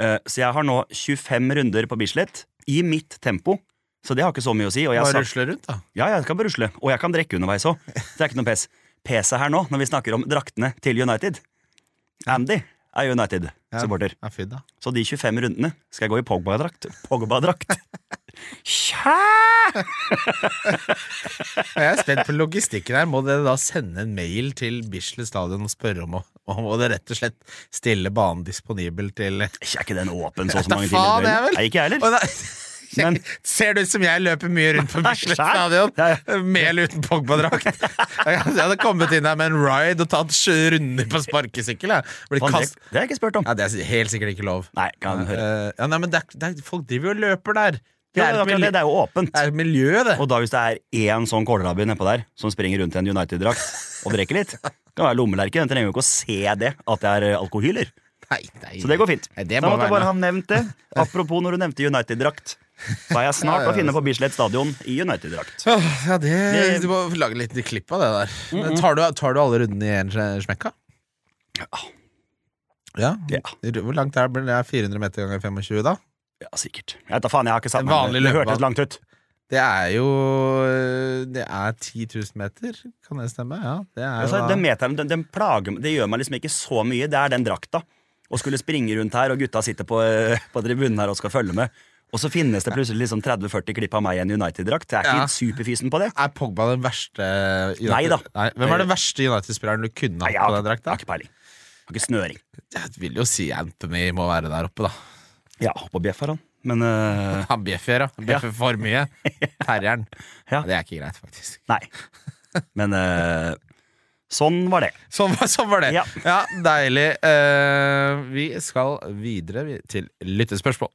Speaker 3: Eh, så jeg har nå 25 runder på Bislett i mitt tempo, så det har ikke så mye å si. Og jeg,
Speaker 2: Bare
Speaker 3: sa,
Speaker 2: rusle rundt, da.
Speaker 3: ja, jeg kan bare rusle, og jeg kan drikke underveis òg. Det er ikke noe pes. Peset her nå, når vi snakker om draktene til United Andy er United-supporter.
Speaker 2: Ja, fy da.
Speaker 3: Så de 25 rundene skal jeg gå i Pogba-drakt. Pogba-drakt. Tja!
Speaker 2: Jeg er spent på logistikken her. Må dere da sende en mail til Bislett stadion og spørre om å om å rett og slett stille banen disponibel til
Speaker 3: Er ikke den åpen så og så
Speaker 2: Da
Speaker 3: mange
Speaker 2: faen,
Speaker 3: timer?
Speaker 2: jeg vel.
Speaker 3: i døgnet? Nei, ikke jeg
Speaker 2: Og
Speaker 3: heller.
Speaker 2: da,
Speaker 3: Men-
Speaker 2: Ser det ut som jeg løper mye rundt på Bislett
Speaker 3: Nei,
Speaker 2: stadion?
Speaker 3: ja,
Speaker 2: Med eller uten Pogba-drakt? Jeg hadde kommet inn der med en ride og tatt sju runder på sparkesykkel. Jeg. Blitt
Speaker 3: Faen,
Speaker 2: kast...
Speaker 3: Det det har jeg ikke spurt om.
Speaker 2: Ja, det er helt sikkert ikke lov.
Speaker 3: Nei, kan høre.
Speaker 2: Eh, ja, nei, men det er, det er, folk driver jo og løper der. Det
Speaker 3: Ja,
Speaker 2: er,
Speaker 3: det, er
Speaker 2: et
Speaker 3: akkurat det,
Speaker 2: miljø,
Speaker 3: det er jo åpent.
Speaker 2: det er et miljø, det.
Speaker 3: Og da hvis det er én sånn kålrabbi nedpå der som springer rundt i en United-drakt og drikker litt, det kan være lommelerke. Den trenger jo ikke å se det, at det er eh, alkohyler.
Speaker 2: Nei, nei.
Speaker 3: Så det går fint.
Speaker 2: Nei, det
Speaker 3: da
Speaker 2: må
Speaker 3: måtte
Speaker 2: være
Speaker 3: jeg
Speaker 2: noe.
Speaker 3: bare ha nevnt det. Apropos når du nevnte United-drakt. Så er jeg snart å finne på Bislett stadion i United-drakt.
Speaker 2: Åh, Ja, det,
Speaker 3: Det-
Speaker 2: Du må lage litt klipp av det der. Men tar, du, tar du alle rundene i en sm- smekka?
Speaker 3: Ah,
Speaker 2: Ja.
Speaker 3: Ja.
Speaker 2: Hvor langt er det? Blir det 400 meter ganger 25, da?
Speaker 3: Ja, sikkert. Jeg vet da faen, jeg har ikke satt
Speaker 2: En
Speaker 3: meg
Speaker 2: vanlig
Speaker 3: med det. Det
Speaker 2: løpebane.
Speaker 3: hørtes langt ut.
Speaker 2: Det er jo Det er 10 000 meter, kan det stemme? Ja, det er
Speaker 3: Altså,
Speaker 2: jo da-
Speaker 3: den meteren, den, den plager meg. Det gjør meg liksom ikke så mye. Det er den drakta. Å skulle springe rundt her, og gutta sitter på, eh, på tribunen her og skal følge med. Og så finnes det plutselig liksom 30-40 klipp av meg i en United-drakt. Jeg er ikke
Speaker 2: Ja.
Speaker 3: superfisen på det.
Speaker 2: Er Pogba den verste United-
Speaker 3: Nei da. Eh,
Speaker 2: Hvem er den verste United-spilleren du kunne hatt
Speaker 3: Nei, jeg
Speaker 2: på
Speaker 3: har,
Speaker 2: den
Speaker 3: ikke- jeg
Speaker 2: drakta?
Speaker 3: har ikke peiling. Jeg Har ikke snøring.
Speaker 2: Jeg vil jo si Anthony må være der oppe, da.
Speaker 3: Ja, på bjeff har han. Men eh,
Speaker 2: Han bjeffer, ja. Han Bjeffer for mye. Terrieren.
Speaker 3: Ja.
Speaker 2: Det er ikke greit, faktisk.
Speaker 3: nei. Men eh, sånn var det.
Speaker 2: Sånn var, sånn var det. Ja,
Speaker 3: Ja.
Speaker 2: Deilig. Eh, vi skal videre vi- til lyttespørsmål.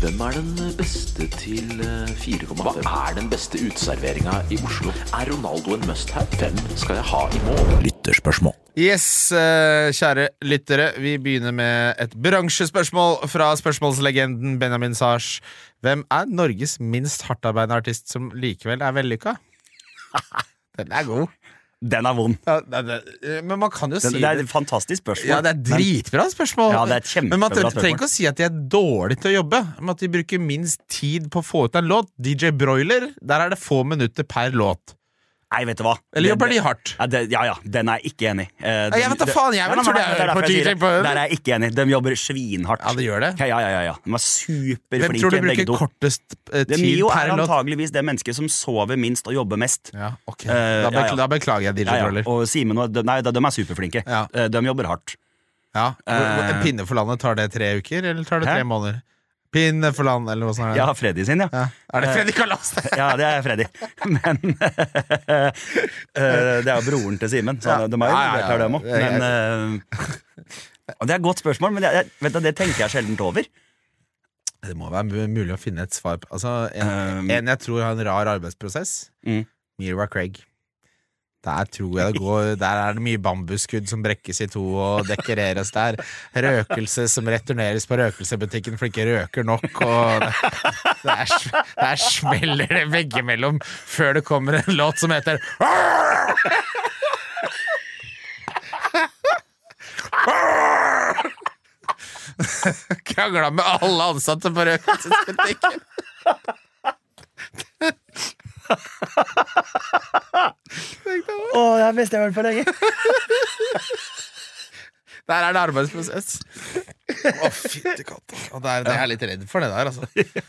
Speaker 1: Hvem er den beste til eh, 4,5? Hva er den beste uteserveringa i Oslo? Er Ronaldo en must-have? Hvem skal jeg ha i mål? Lytterspørsmål.
Speaker 2: Yes, eh, kjære lyttere. Vi begynner med et bransjespørsmål fra spørsmålslegenden Benjamin Sars. Hvem er Norges minst hardtarbeidende artist som likevel er vellykka? Den er god.
Speaker 3: Den er vond.
Speaker 2: Ja, det- det- eh, Men man kan jo
Speaker 3: Den,
Speaker 2: si
Speaker 3: det er et fantastisk spørsmål.
Speaker 2: Ja, det er
Speaker 3: men-
Speaker 2: dritbra spørsmål.
Speaker 3: Ja, det er et kjempebra
Speaker 2: Men man tre-
Speaker 3: spørsmål.
Speaker 2: trenger ikke å si at de er dårlige til å jobbe. Men at de bruker minst tid på å få ut en låt. DJ Broiler, der er det få minutter per låt.
Speaker 3: Nei, vet du hva.
Speaker 2: Eller
Speaker 3: Den-
Speaker 2: jobber de hardt?
Speaker 3: Ja, det, ja, ja, den er jeg ikke enig i. Eh, den-
Speaker 2: jeg vet da
Speaker 3: det-
Speaker 2: faen, jeg
Speaker 3: Nei,
Speaker 2: vel
Speaker 3: nei,
Speaker 2: tror
Speaker 3: nei,
Speaker 2: det er
Speaker 3: derfor
Speaker 2: på
Speaker 3: jeg sier
Speaker 2: DJ på-
Speaker 3: det. Der er jeg ikke enig. De jobber svinhardt.
Speaker 2: Ja, det gjør det.
Speaker 3: Ja, ja, ja, ja. De er
Speaker 2: Hvem
Speaker 3: superflinke,
Speaker 2: tror du
Speaker 3: begge
Speaker 2: bruker
Speaker 3: to.
Speaker 2: kortest eh,
Speaker 3: Det
Speaker 2: tid
Speaker 3: Mio er
Speaker 2: per låt?
Speaker 3: antageligvis det mennesket som sover minst og jobber mest.
Speaker 2: Ja, ok.
Speaker 3: Eh,
Speaker 2: Da,
Speaker 3: ja,
Speaker 2: bekl
Speaker 3: ja.
Speaker 2: da beklager jeg DJ
Speaker 3: Ja, ja.
Speaker 2: Broiler.
Speaker 3: Og Simen og de, Nei, de de er superflinke.
Speaker 2: Ja.
Speaker 3: Eh, De jobber hardt.
Speaker 2: Ja. Hvor- hvor-
Speaker 3: Eh.
Speaker 2: Pinne for landet, tar det tre uker, eller tar det tre
Speaker 3: Hæ?
Speaker 2: måneder? Pinne for land, eller hva som er det?
Speaker 3: Ja, Eh. Freddy sin, ja.
Speaker 2: Ja. Er det Freddy Kalas?
Speaker 3: Ja, det er Freddy. Men eh, Det er jo broren til Simen, så
Speaker 2: Ja.
Speaker 3: de er jo
Speaker 2: Ja, ja, ja.
Speaker 3: klar, dem òg.
Speaker 2: Jeg-
Speaker 3: Men eh, og Det er et godt spørsmål, men jeg, jeg, vet du, det tenker jeg sjelden over.
Speaker 2: Det må være mu- mulig å finne et svar på altså, en,
Speaker 3: Um,
Speaker 2: en jeg tror har en rar arbeidsprosess
Speaker 3: Mm.
Speaker 2: Mira Craig der tror jeg det går Der er det mye bambusskudd som brekkes i to og dekoreres der. Røkelse som returneres på røkelsebutikken for det ikke røker nok. Og det, det er, sm- der smeller det veggimellom før det kommer en låt som heter Krangla med alle ansatte på røkelsesbutikken.
Speaker 3: Å, det er beste jeg har hørt på lenge.
Speaker 2: Der er det arbeidsprosess. Å, fytti katta. Og der, det er jeg litt redd for, det der, altså.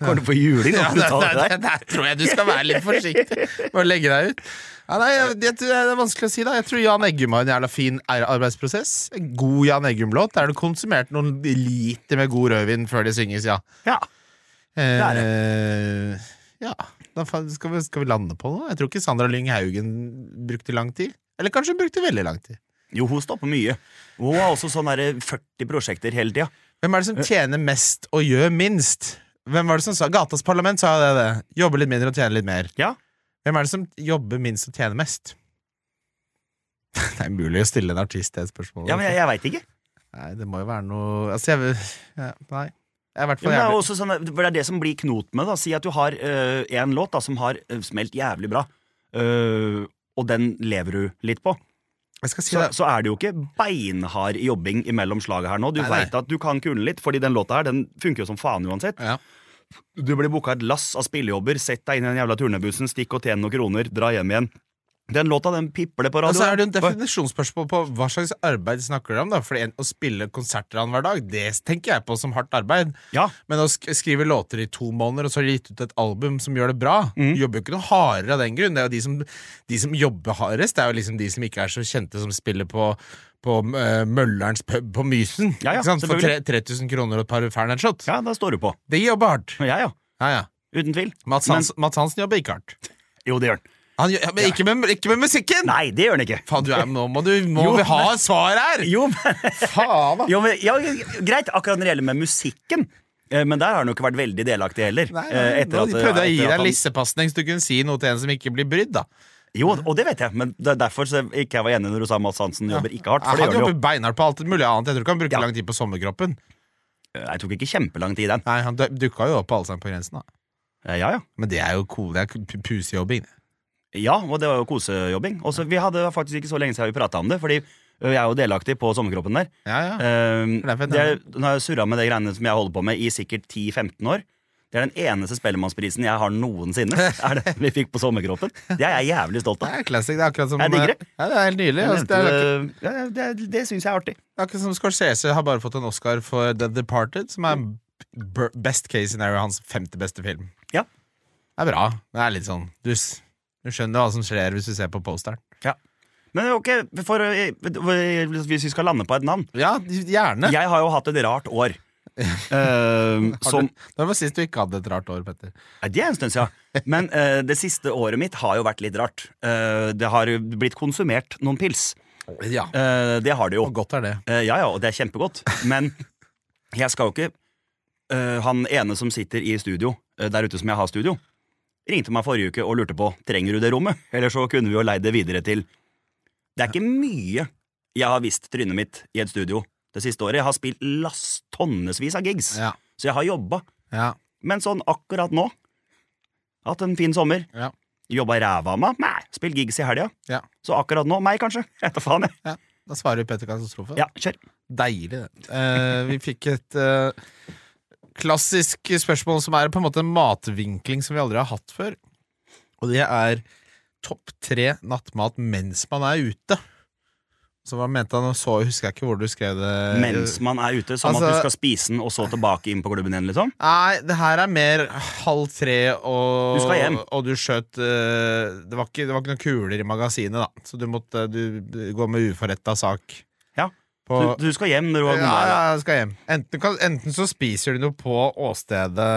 Speaker 3: Kommer du på juling?
Speaker 2: Ja,
Speaker 3: når du
Speaker 2: der,
Speaker 3: tar
Speaker 2: der,
Speaker 3: det
Speaker 2: der,
Speaker 3: der?
Speaker 2: tror jeg du skal være litt forsiktig med å legge deg ut. Ja, nei, jeg, jeg, tror- det er vanskelig å si, da. Jeg tror Jan Eggum har en jævla fin ar- arbeidsprosess. En god Jan Eggum-låt. Der har du konsumert noen liter med god rødvin før de synges, ja.
Speaker 3: Ja. er
Speaker 2: Eh, ja. Da fa- skal vi, skal vi lande på noe? Jeg tror ikke Sandra Lyng Haugen brukte lang tid. Eller kanskje hun brukte veldig lang tid.
Speaker 3: Jo, hun står på mye. Hun har også sånn derre 40 prosjekter hele tida.
Speaker 2: Hvem er det
Speaker 3: Eh.
Speaker 2: som tjener mest og gjør minst? Hvem var det som sa Gatas parlament sa det. det. Jobbe litt mindre og tjene litt mer.
Speaker 3: Ja.
Speaker 2: Hvem er det som jobber minst og tjener mest? Det er umulig å stille en artist det spørsmålet.
Speaker 3: Ja, men jeg, jeg veit ikke.
Speaker 2: Nei, det må jo være noe Altså, jeg ja, Nei. Jeg er i hvert fall
Speaker 3: Ja, men det, er
Speaker 2: jævlig
Speaker 3: jo også sånn, for det er det som blir knot med. Da. Si at du har én låt da, som har eh, smelt jævlig bra, eh, og den lever du litt på.
Speaker 2: Jeg skal si
Speaker 3: Så,
Speaker 2: det.
Speaker 3: så er det jo ikke beinhard jobbing imellom slaget her nå. Du
Speaker 2: Nei, nei.
Speaker 3: veit at du kan kunne litt, fordi den låta her den funker jo som faen uansett.
Speaker 2: Ja.
Speaker 3: Du blir booka et lass av spillejobber, sett deg inn i den jævla turnebussen, stikk og tjen noen kroner, dra hjem igjen. Den låta, den pipler på
Speaker 2: Og så Altså,
Speaker 3: radioen.
Speaker 2: er det jo en definisjonsspørsmål på hva slags arbeid snakker du om. da Fordi en, Å spille konserter annenhver dag, det tenker jeg på som hardt arbeid.
Speaker 3: Ja,
Speaker 2: Men å sk skrive låter i to måneder, og så har de gitt ut et album som gjør det bra
Speaker 3: Mm.
Speaker 2: Du jobber jo ikke noe hardere av den grunn. Det er jo de som, de som jobber hardest, det er jo liksom de som ikke er så kjente, som spiller på, på eh, Møllerens pub på Mysen.
Speaker 3: Ja, ja,
Speaker 2: ikke sant? For tre,
Speaker 3: selvfølgelig.
Speaker 2: 3000 kroner og et par Fernet-shot.
Speaker 3: ja, da står du på.
Speaker 2: De jobber hardt.
Speaker 3: Ja, ja.
Speaker 2: Ja, ja.
Speaker 3: Uten tvil.
Speaker 2: Mats,
Speaker 3: Men-
Speaker 2: Hans, Mats Hansen jobber ikke hardt.
Speaker 3: Jo, det gjør den.
Speaker 2: Han, gjør- ja, men ikke, med, ikke med musikken!
Speaker 3: Nei, det gjør den ikke.
Speaker 2: Faen, du er, nå må, du, må
Speaker 3: Jo,
Speaker 2: vi ha et svar her!
Speaker 3: Jo, men
Speaker 2: Faen, da!
Speaker 3: Jo, men, ja, greit, akkurat når det gjelder med musikken. eh, Men der har han jo ikke vært veldig delaktig heller.
Speaker 2: Nei, nei,
Speaker 3: eh, etter
Speaker 2: nå
Speaker 3: at-
Speaker 2: prøvde jeg å
Speaker 3: etter
Speaker 2: gi
Speaker 3: at
Speaker 2: deg
Speaker 3: han-
Speaker 2: en lissepasning, så du kunne si noe til en som ikke blir brydd, da.
Speaker 3: Jo, og det vet jeg, men det er derfor så ikke jeg var enig når du sa Mads Hansen jobber ikke hardt. For
Speaker 2: Han
Speaker 3: det gjør han
Speaker 2: jobber
Speaker 3: jo.
Speaker 2: beinhardt på alt mulig annet. Jeg tror ikke han bruker
Speaker 3: Ja.
Speaker 2: lang tid på sommerkroppen.
Speaker 3: Jeg tok ikke kjempelang tid, den.
Speaker 2: Nei, Han dø- dukka jo opp på Allsang på grensen, da.
Speaker 3: Eh, Ja, ja.
Speaker 2: Men det er jo cool. Det er p- pusejobbing. det.
Speaker 3: Ja, og det var jo kosejobbing. Og så vi hadde faktisk ikke så lenge siden vi prata om det, fordi eh, jeg er jo delaktig på sommerkroppen der.
Speaker 2: Ja, ja.
Speaker 3: Eh,
Speaker 2: det er fett,
Speaker 3: det er, nå har jeg surra med de greiene som jeg holder på med i sikkert 10-15 år. Det er den eneste Spellemannsprisen jeg har noensinne. Er det vi fikk på sommerkroppen. Det er jeg jævlig stolt av.
Speaker 2: Det er classic. Det er akkurat som
Speaker 3: Jeg digger det.
Speaker 2: Ja, det er helt nydelig.
Speaker 3: Jeg
Speaker 2: Altså, det, er akkurat,
Speaker 3: nevnte det- ja, ja, det, det syns jeg er artig.
Speaker 2: akkurat som Scorsese har bare fått en Oscar for The Departed, som er b- best case scenario hans femte beste film.
Speaker 3: Ja.
Speaker 2: Det er bra. Det er litt sånn Du, s- du skjønner hva som skjer hvis du ser på posteren.
Speaker 3: Men ok, for, å- hvis vi skal lande på et navn
Speaker 2: Ja, gjerne.
Speaker 3: Jeg har jo hatt et rart år. Eh, som,
Speaker 2: Når var sist du ikke hadde et rart år, Petter?
Speaker 3: Nei, det er en stund siden. Men eh, det siste året mitt har jo vært litt rart. Eh, det har jo blitt konsumert noen pils.
Speaker 2: Ja.
Speaker 3: Eh, det har det jo.
Speaker 2: Og godt er det.
Speaker 3: Eh, ja, ja, og det er kjempegodt. Men jeg skal jo ikke eh, Han ene som sitter i studio, eh, der ute som jeg har studio, ringte meg forrige uke og lurte på trenger du det rommet. Eller så kunne vi jo leid det videre til Det er ikke mye jeg har vist trynet mitt i et studio det siste året. Jeg har spilt last tonnevis av gigs,
Speaker 2: Ja.
Speaker 3: så jeg har jobba.
Speaker 2: Ja.
Speaker 3: Men sånn akkurat nå Hatt en fin sommer.
Speaker 2: Ja.
Speaker 3: Jobba ræva av meg. Nei, Spilt gigs i helga.
Speaker 2: Ja.
Speaker 3: Så akkurat nå meg, kanskje. Jeg tar faen, jeg.
Speaker 2: ja. Da svarer vi Petter Katastrofe.
Speaker 3: Ja, kjør.
Speaker 2: Deilig, det. Eh, vi fikk et eh, klassisk spørsmål som er på en måte en matvinkling som vi aldri har hatt før. Og det er topp tre nattmat mens man er ute. Så hva mente han, og så husker jeg ikke hvor du skrev det.
Speaker 3: Mens man er ute, som
Speaker 2: altså-
Speaker 3: at du skal spise den og så tilbake inn på klubben igjen, liksom?
Speaker 2: Nei, det her er mer halv tre, og
Speaker 3: Du skal hjem.
Speaker 2: Og du skjøt eh, det, var ikke, det var ikke noen kuler i magasinet, da. Så du måtte du, gå med uforretta sak.
Speaker 3: Ja.
Speaker 2: På,
Speaker 3: Du, du skal hjem når du
Speaker 2: ja,
Speaker 3: har kommet deg.
Speaker 2: ja, jeg skal hjem. Enten, kan, enten så spiser du noe på åstedet,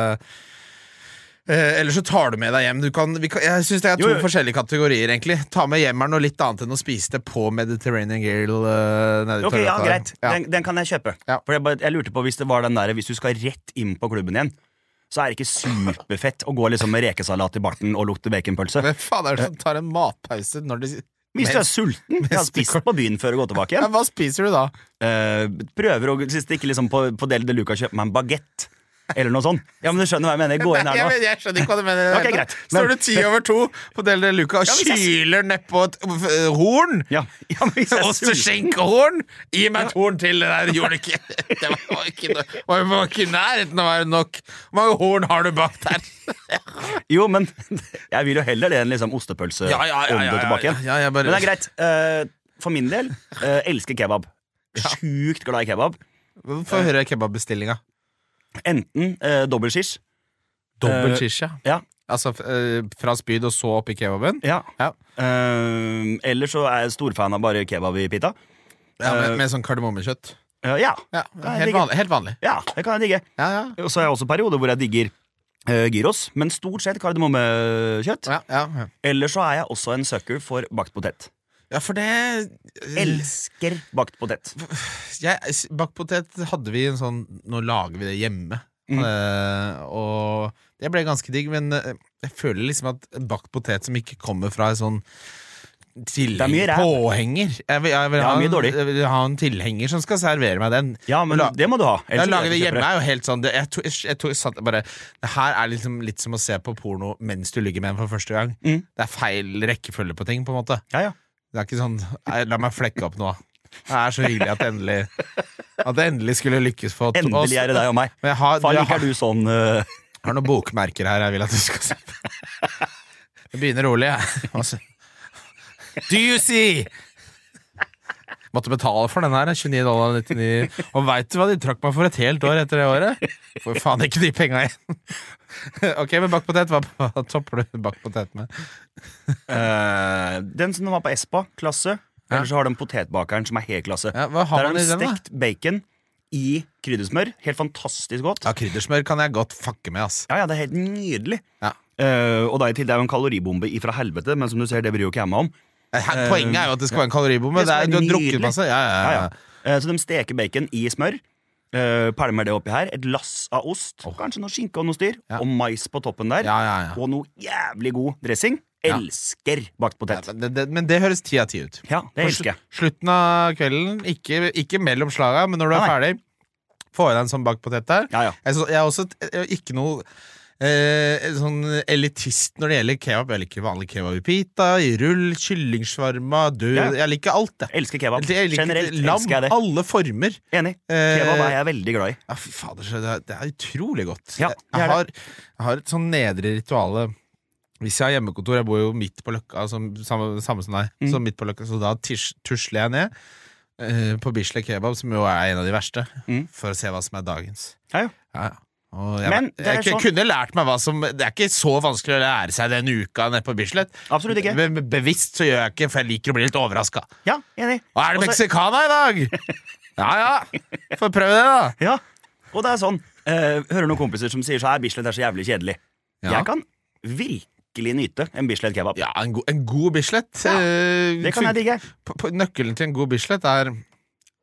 Speaker 2: eh, eller så tar du med deg hjem. Du kan, vi kan, jeg syns det er to
Speaker 3: Jo, jo.
Speaker 2: forskjellige kategorier, egentlig. Ta med hjem er noe litt annet enn å spise det på Mediterranean Grill eh, nede i
Speaker 3: Ok, ja,
Speaker 2: Torgata der.
Speaker 3: greit.
Speaker 2: Ja.
Speaker 3: Den, den kan jeg kjøpe.
Speaker 2: Ja.
Speaker 3: For jeg, bare, jeg lurte på hvis det var den der Hvis du skal rett inn på klubben igjen, så er det ikke superfett å gå liksom med rekesalat i barten og lukte baconpølse.
Speaker 2: Hvem faen er det som tar en matpause når de
Speaker 3: Hvis du er sulten, jeg har spist på byen før og gått tilbake
Speaker 2: ja,
Speaker 3: igjen.
Speaker 2: Hva spiser du da?
Speaker 3: Eh, prøver å stikke liksom på, på Del de Luca og kjøpe meg en bagett. Eller noe sånt. Ja, men du skjønner hva jeg mener. Gå inn her
Speaker 2: Jeg,
Speaker 3: nå.
Speaker 2: vet- jeg skjønner ikke hva du mener.
Speaker 3: Ok, greit.
Speaker 2: Står
Speaker 3: Men-
Speaker 2: du ti over to på Del de Luca og
Speaker 3: Ja, hvis jeg-
Speaker 2: kyler nedpå et øh, horn?
Speaker 3: Ja, ja, men hvis jeg er sulten-
Speaker 2: Osteskinkhorn! Gi meg et horn til! Det der gjorde du ikke Det var- var ikke no- var var ikke i nærheten av å være nok. Hvor mange horn har du bak der?
Speaker 3: Jo, men jeg vil jo heller det enn liksom ostepølse
Speaker 2: Ja, ja, ja,
Speaker 3: om det
Speaker 2: ja,
Speaker 3: tilbake
Speaker 2: ja,
Speaker 3: igjen.
Speaker 2: ja, jeg bare-
Speaker 3: Men det er greit. Eh, for min del, eh, elsker kebab. Sjukt glad i kebab.
Speaker 2: Få høre kebabbestillinga.
Speaker 3: Enten uh, dobbel shish.
Speaker 2: Dobbel
Speaker 3: Eh,
Speaker 2: chish, ja.
Speaker 3: Ja.
Speaker 2: Altså f- øh, fra spyd og så opp i kebaben?
Speaker 3: ja.
Speaker 2: Ja.
Speaker 3: Eh, eller så er jeg storfan av bare kebab i pita.
Speaker 2: ja med, med sånn kardemommekjøtt.
Speaker 3: Eh, ja.
Speaker 2: Ja,
Speaker 3: Nei,
Speaker 2: helt
Speaker 3: digger.
Speaker 2: vanlig. Helt vanlig.
Speaker 3: ja, det kan jeg digge.
Speaker 2: Ja, ja.
Speaker 3: Og så har jeg også perioder hvor jeg digger eh, gyros, men stort sett kardemommekjøtt.
Speaker 2: Ja, ja.
Speaker 3: Eller så er jeg også en sucker for bakt potet.
Speaker 2: Ja, for det
Speaker 3: Elsker bakt potet.
Speaker 2: jeg, Bakt potet hadde vi en sånn Nå lager vi det hjemme.
Speaker 3: Mm.
Speaker 2: Eh, og det ble ganske digg, men eh, jeg føler liksom at bakt potet som ikke kommer fra en sånn
Speaker 3: er mye
Speaker 2: tilhenger
Speaker 3: ræv.
Speaker 2: Påhenger. Jeg vil, jeg, vil
Speaker 3: Ja,
Speaker 2: ha
Speaker 3: mye
Speaker 2: en,
Speaker 3: dårlig.
Speaker 2: jeg vil ha en tilhenger som skal servere meg den.
Speaker 3: Ja, men
Speaker 2: La-
Speaker 3: det må du ha.
Speaker 2: Ja,
Speaker 3: ellers
Speaker 2: lage
Speaker 3: vil
Speaker 2: det
Speaker 3: jeg ikke
Speaker 2: hjemme
Speaker 3: kjøpe
Speaker 2: er jo helt sånn Det, jeg, to, jeg, jeg, to, jeg satt bare, det her er liksom litt som å se på porno mens du ligger med en for første gang.
Speaker 3: Mm.
Speaker 2: Det er feil rekkefølge på ting, på en måte.
Speaker 3: det. Ja, ja.
Speaker 2: Det er ikke sånn «Nei, La meg flekke opp nå. Det er så hyggelig at det endelig At det endelig skulle lykkes for
Speaker 3: Endelig er det deg og meg.
Speaker 2: Men jeg har,
Speaker 3: Faen,
Speaker 2: jeg
Speaker 3: ikke
Speaker 2: har,
Speaker 3: er du sånn eh,
Speaker 2: jeg har noen bokmerker her jeg vil at du skal se på. Jeg begynner rolig, jeg. Altså. Do you see? Måtte betale for den her. 29 dollar 99. Og veit du hva de trakk meg for et helt år etter det året? Får faen ikke de penga igjen. Ok, men bakt potet, hva, hva topper du bakt potet med?
Speaker 3: eh, Den som var på Espa, klasse.
Speaker 2: Ja.
Speaker 3: Eller så har du den potetbakeren som er helt klasse.
Speaker 2: Ja, hva har
Speaker 3: Der har
Speaker 2: man
Speaker 3: de
Speaker 2: i den, da?
Speaker 3: stekt bacon i kryddersmør. Helt fantastisk godt.
Speaker 2: Ja, Kryddersmør kan jeg godt fucke med, ass.
Speaker 3: Ja, ja, det er helt nydelig.
Speaker 2: Ja.
Speaker 3: Eh, og da i tillegg er det jo en kaloribombe ifra helvete, men som du ser, det bryr jo ikke jeg meg om.
Speaker 2: Her, poenget er jo at det skal være en kaloribombe.
Speaker 3: Det
Speaker 2: Det
Speaker 3: skal
Speaker 2: er,
Speaker 3: være
Speaker 2: du har
Speaker 3: nydelig.
Speaker 2: drukket masse. Ja, ja,
Speaker 3: Ja,
Speaker 2: ja.
Speaker 3: ja. Eh, Så de steker bacon i smør. eh, Pælmer det oppi her. Et lass av ost. Kanskje noe skinke og noe styr.
Speaker 2: Ja.
Speaker 3: Og mais på toppen der.
Speaker 2: Ja, ja, ja.
Speaker 3: Og noe jævlig god dressing.
Speaker 2: Ja.
Speaker 3: Elsker bakt potet.
Speaker 2: Men, det, det, men det høres ti av ti ut.
Speaker 3: Ja, det
Speaker 2: På
Speaker 3: elsker jeg.
Speaker 2: slu- Slutten av kvelden, ikke, ikke mellom slaga, men når du er
Speaker 3: Nei,
Speaker 2: ferdig, få i deg en sånn bakt potet der.
Speaker 3: Ja, ja.
Speaker 2: Jeg, så, jeg er også t- eh, ikke noe eh, sånn elitist når det gjelder kebab. Jeg liker vanlig kebab i pita, i rull, kyllingsvarma, død
Speaker 3: Ja, ja.
Speaker 2: Jeg liker alt, jeg.
Speaker 3: Elsker kebab.
Speaker 2: Jeg liker
Speaker 3: Generelt
Speaker 2: lam,
Speaker 3: elsker jeg det.
Speaker 2: alle former.
Speaker 3: Enig.
Speaker 2: Eh,
Speaker 3: Kebab er jeg veldig glad i.
Speaker 2: Ja, fy fader, så det er, det er utrolig godt.
Speaker 3: Ja,
Speaker 2: jeg,
Speaker 3: det er
Speaker 2: jeg,
Speaker 3: det.
Speaker 2: har, jeg har et sånn nedre rituale. Hvis jeg har hjemmekontor, jeg bor jo midt på løkka, som, samme, samme som deg,
Speaker 3: Mm.
Speaker 2: så midt på løkka, så da tis- tusler jeg ned eh, på Bislett Kebab, som jo er en av de verste,
Speaker 3: Mm.
Speaker 2: for å se hva som er dagens.
Speaker 3: Ja, ja.
Speaker 2: Ja, ja. Og jeg,
Speaker 3: Men det
Speaker 2: jeg,
Speaker 3: er
Speaker 2: ku-
Speaker 3: sånn-
Speaker 2: kunne lært meg hva som Det er ikke så vanskelig å lære seg den uka nede på Bislett.
Speaker 3: Absolutt ikke.
Speaker 2: Be- be- bevisst så gjør jeg ikke, for jeg liker å bli litt overraska.
Speaker 3: Ja, enig.
Speaker 2: Hva er det
Speaker 3: Og så-
Speaker 2: mexicana i dag? Ja ja, får prøve det, da.
Speaker 3: Ja, og det er sånn eh, Hører noen kompiser som sier så her Bislett er så jævlig kjedelig
Speaker 2: Ja.
Speaker 3: Jeg kan virkelig nyte en Bislett kebab
Speaker 2: Ja, en, go en god Bislett.
Speaker 3: Ja,
Speaker 2: eh,
Speaker 3: Det kan jeg digge
Speaker 2: på, på, nøkkelen til en god Bislett er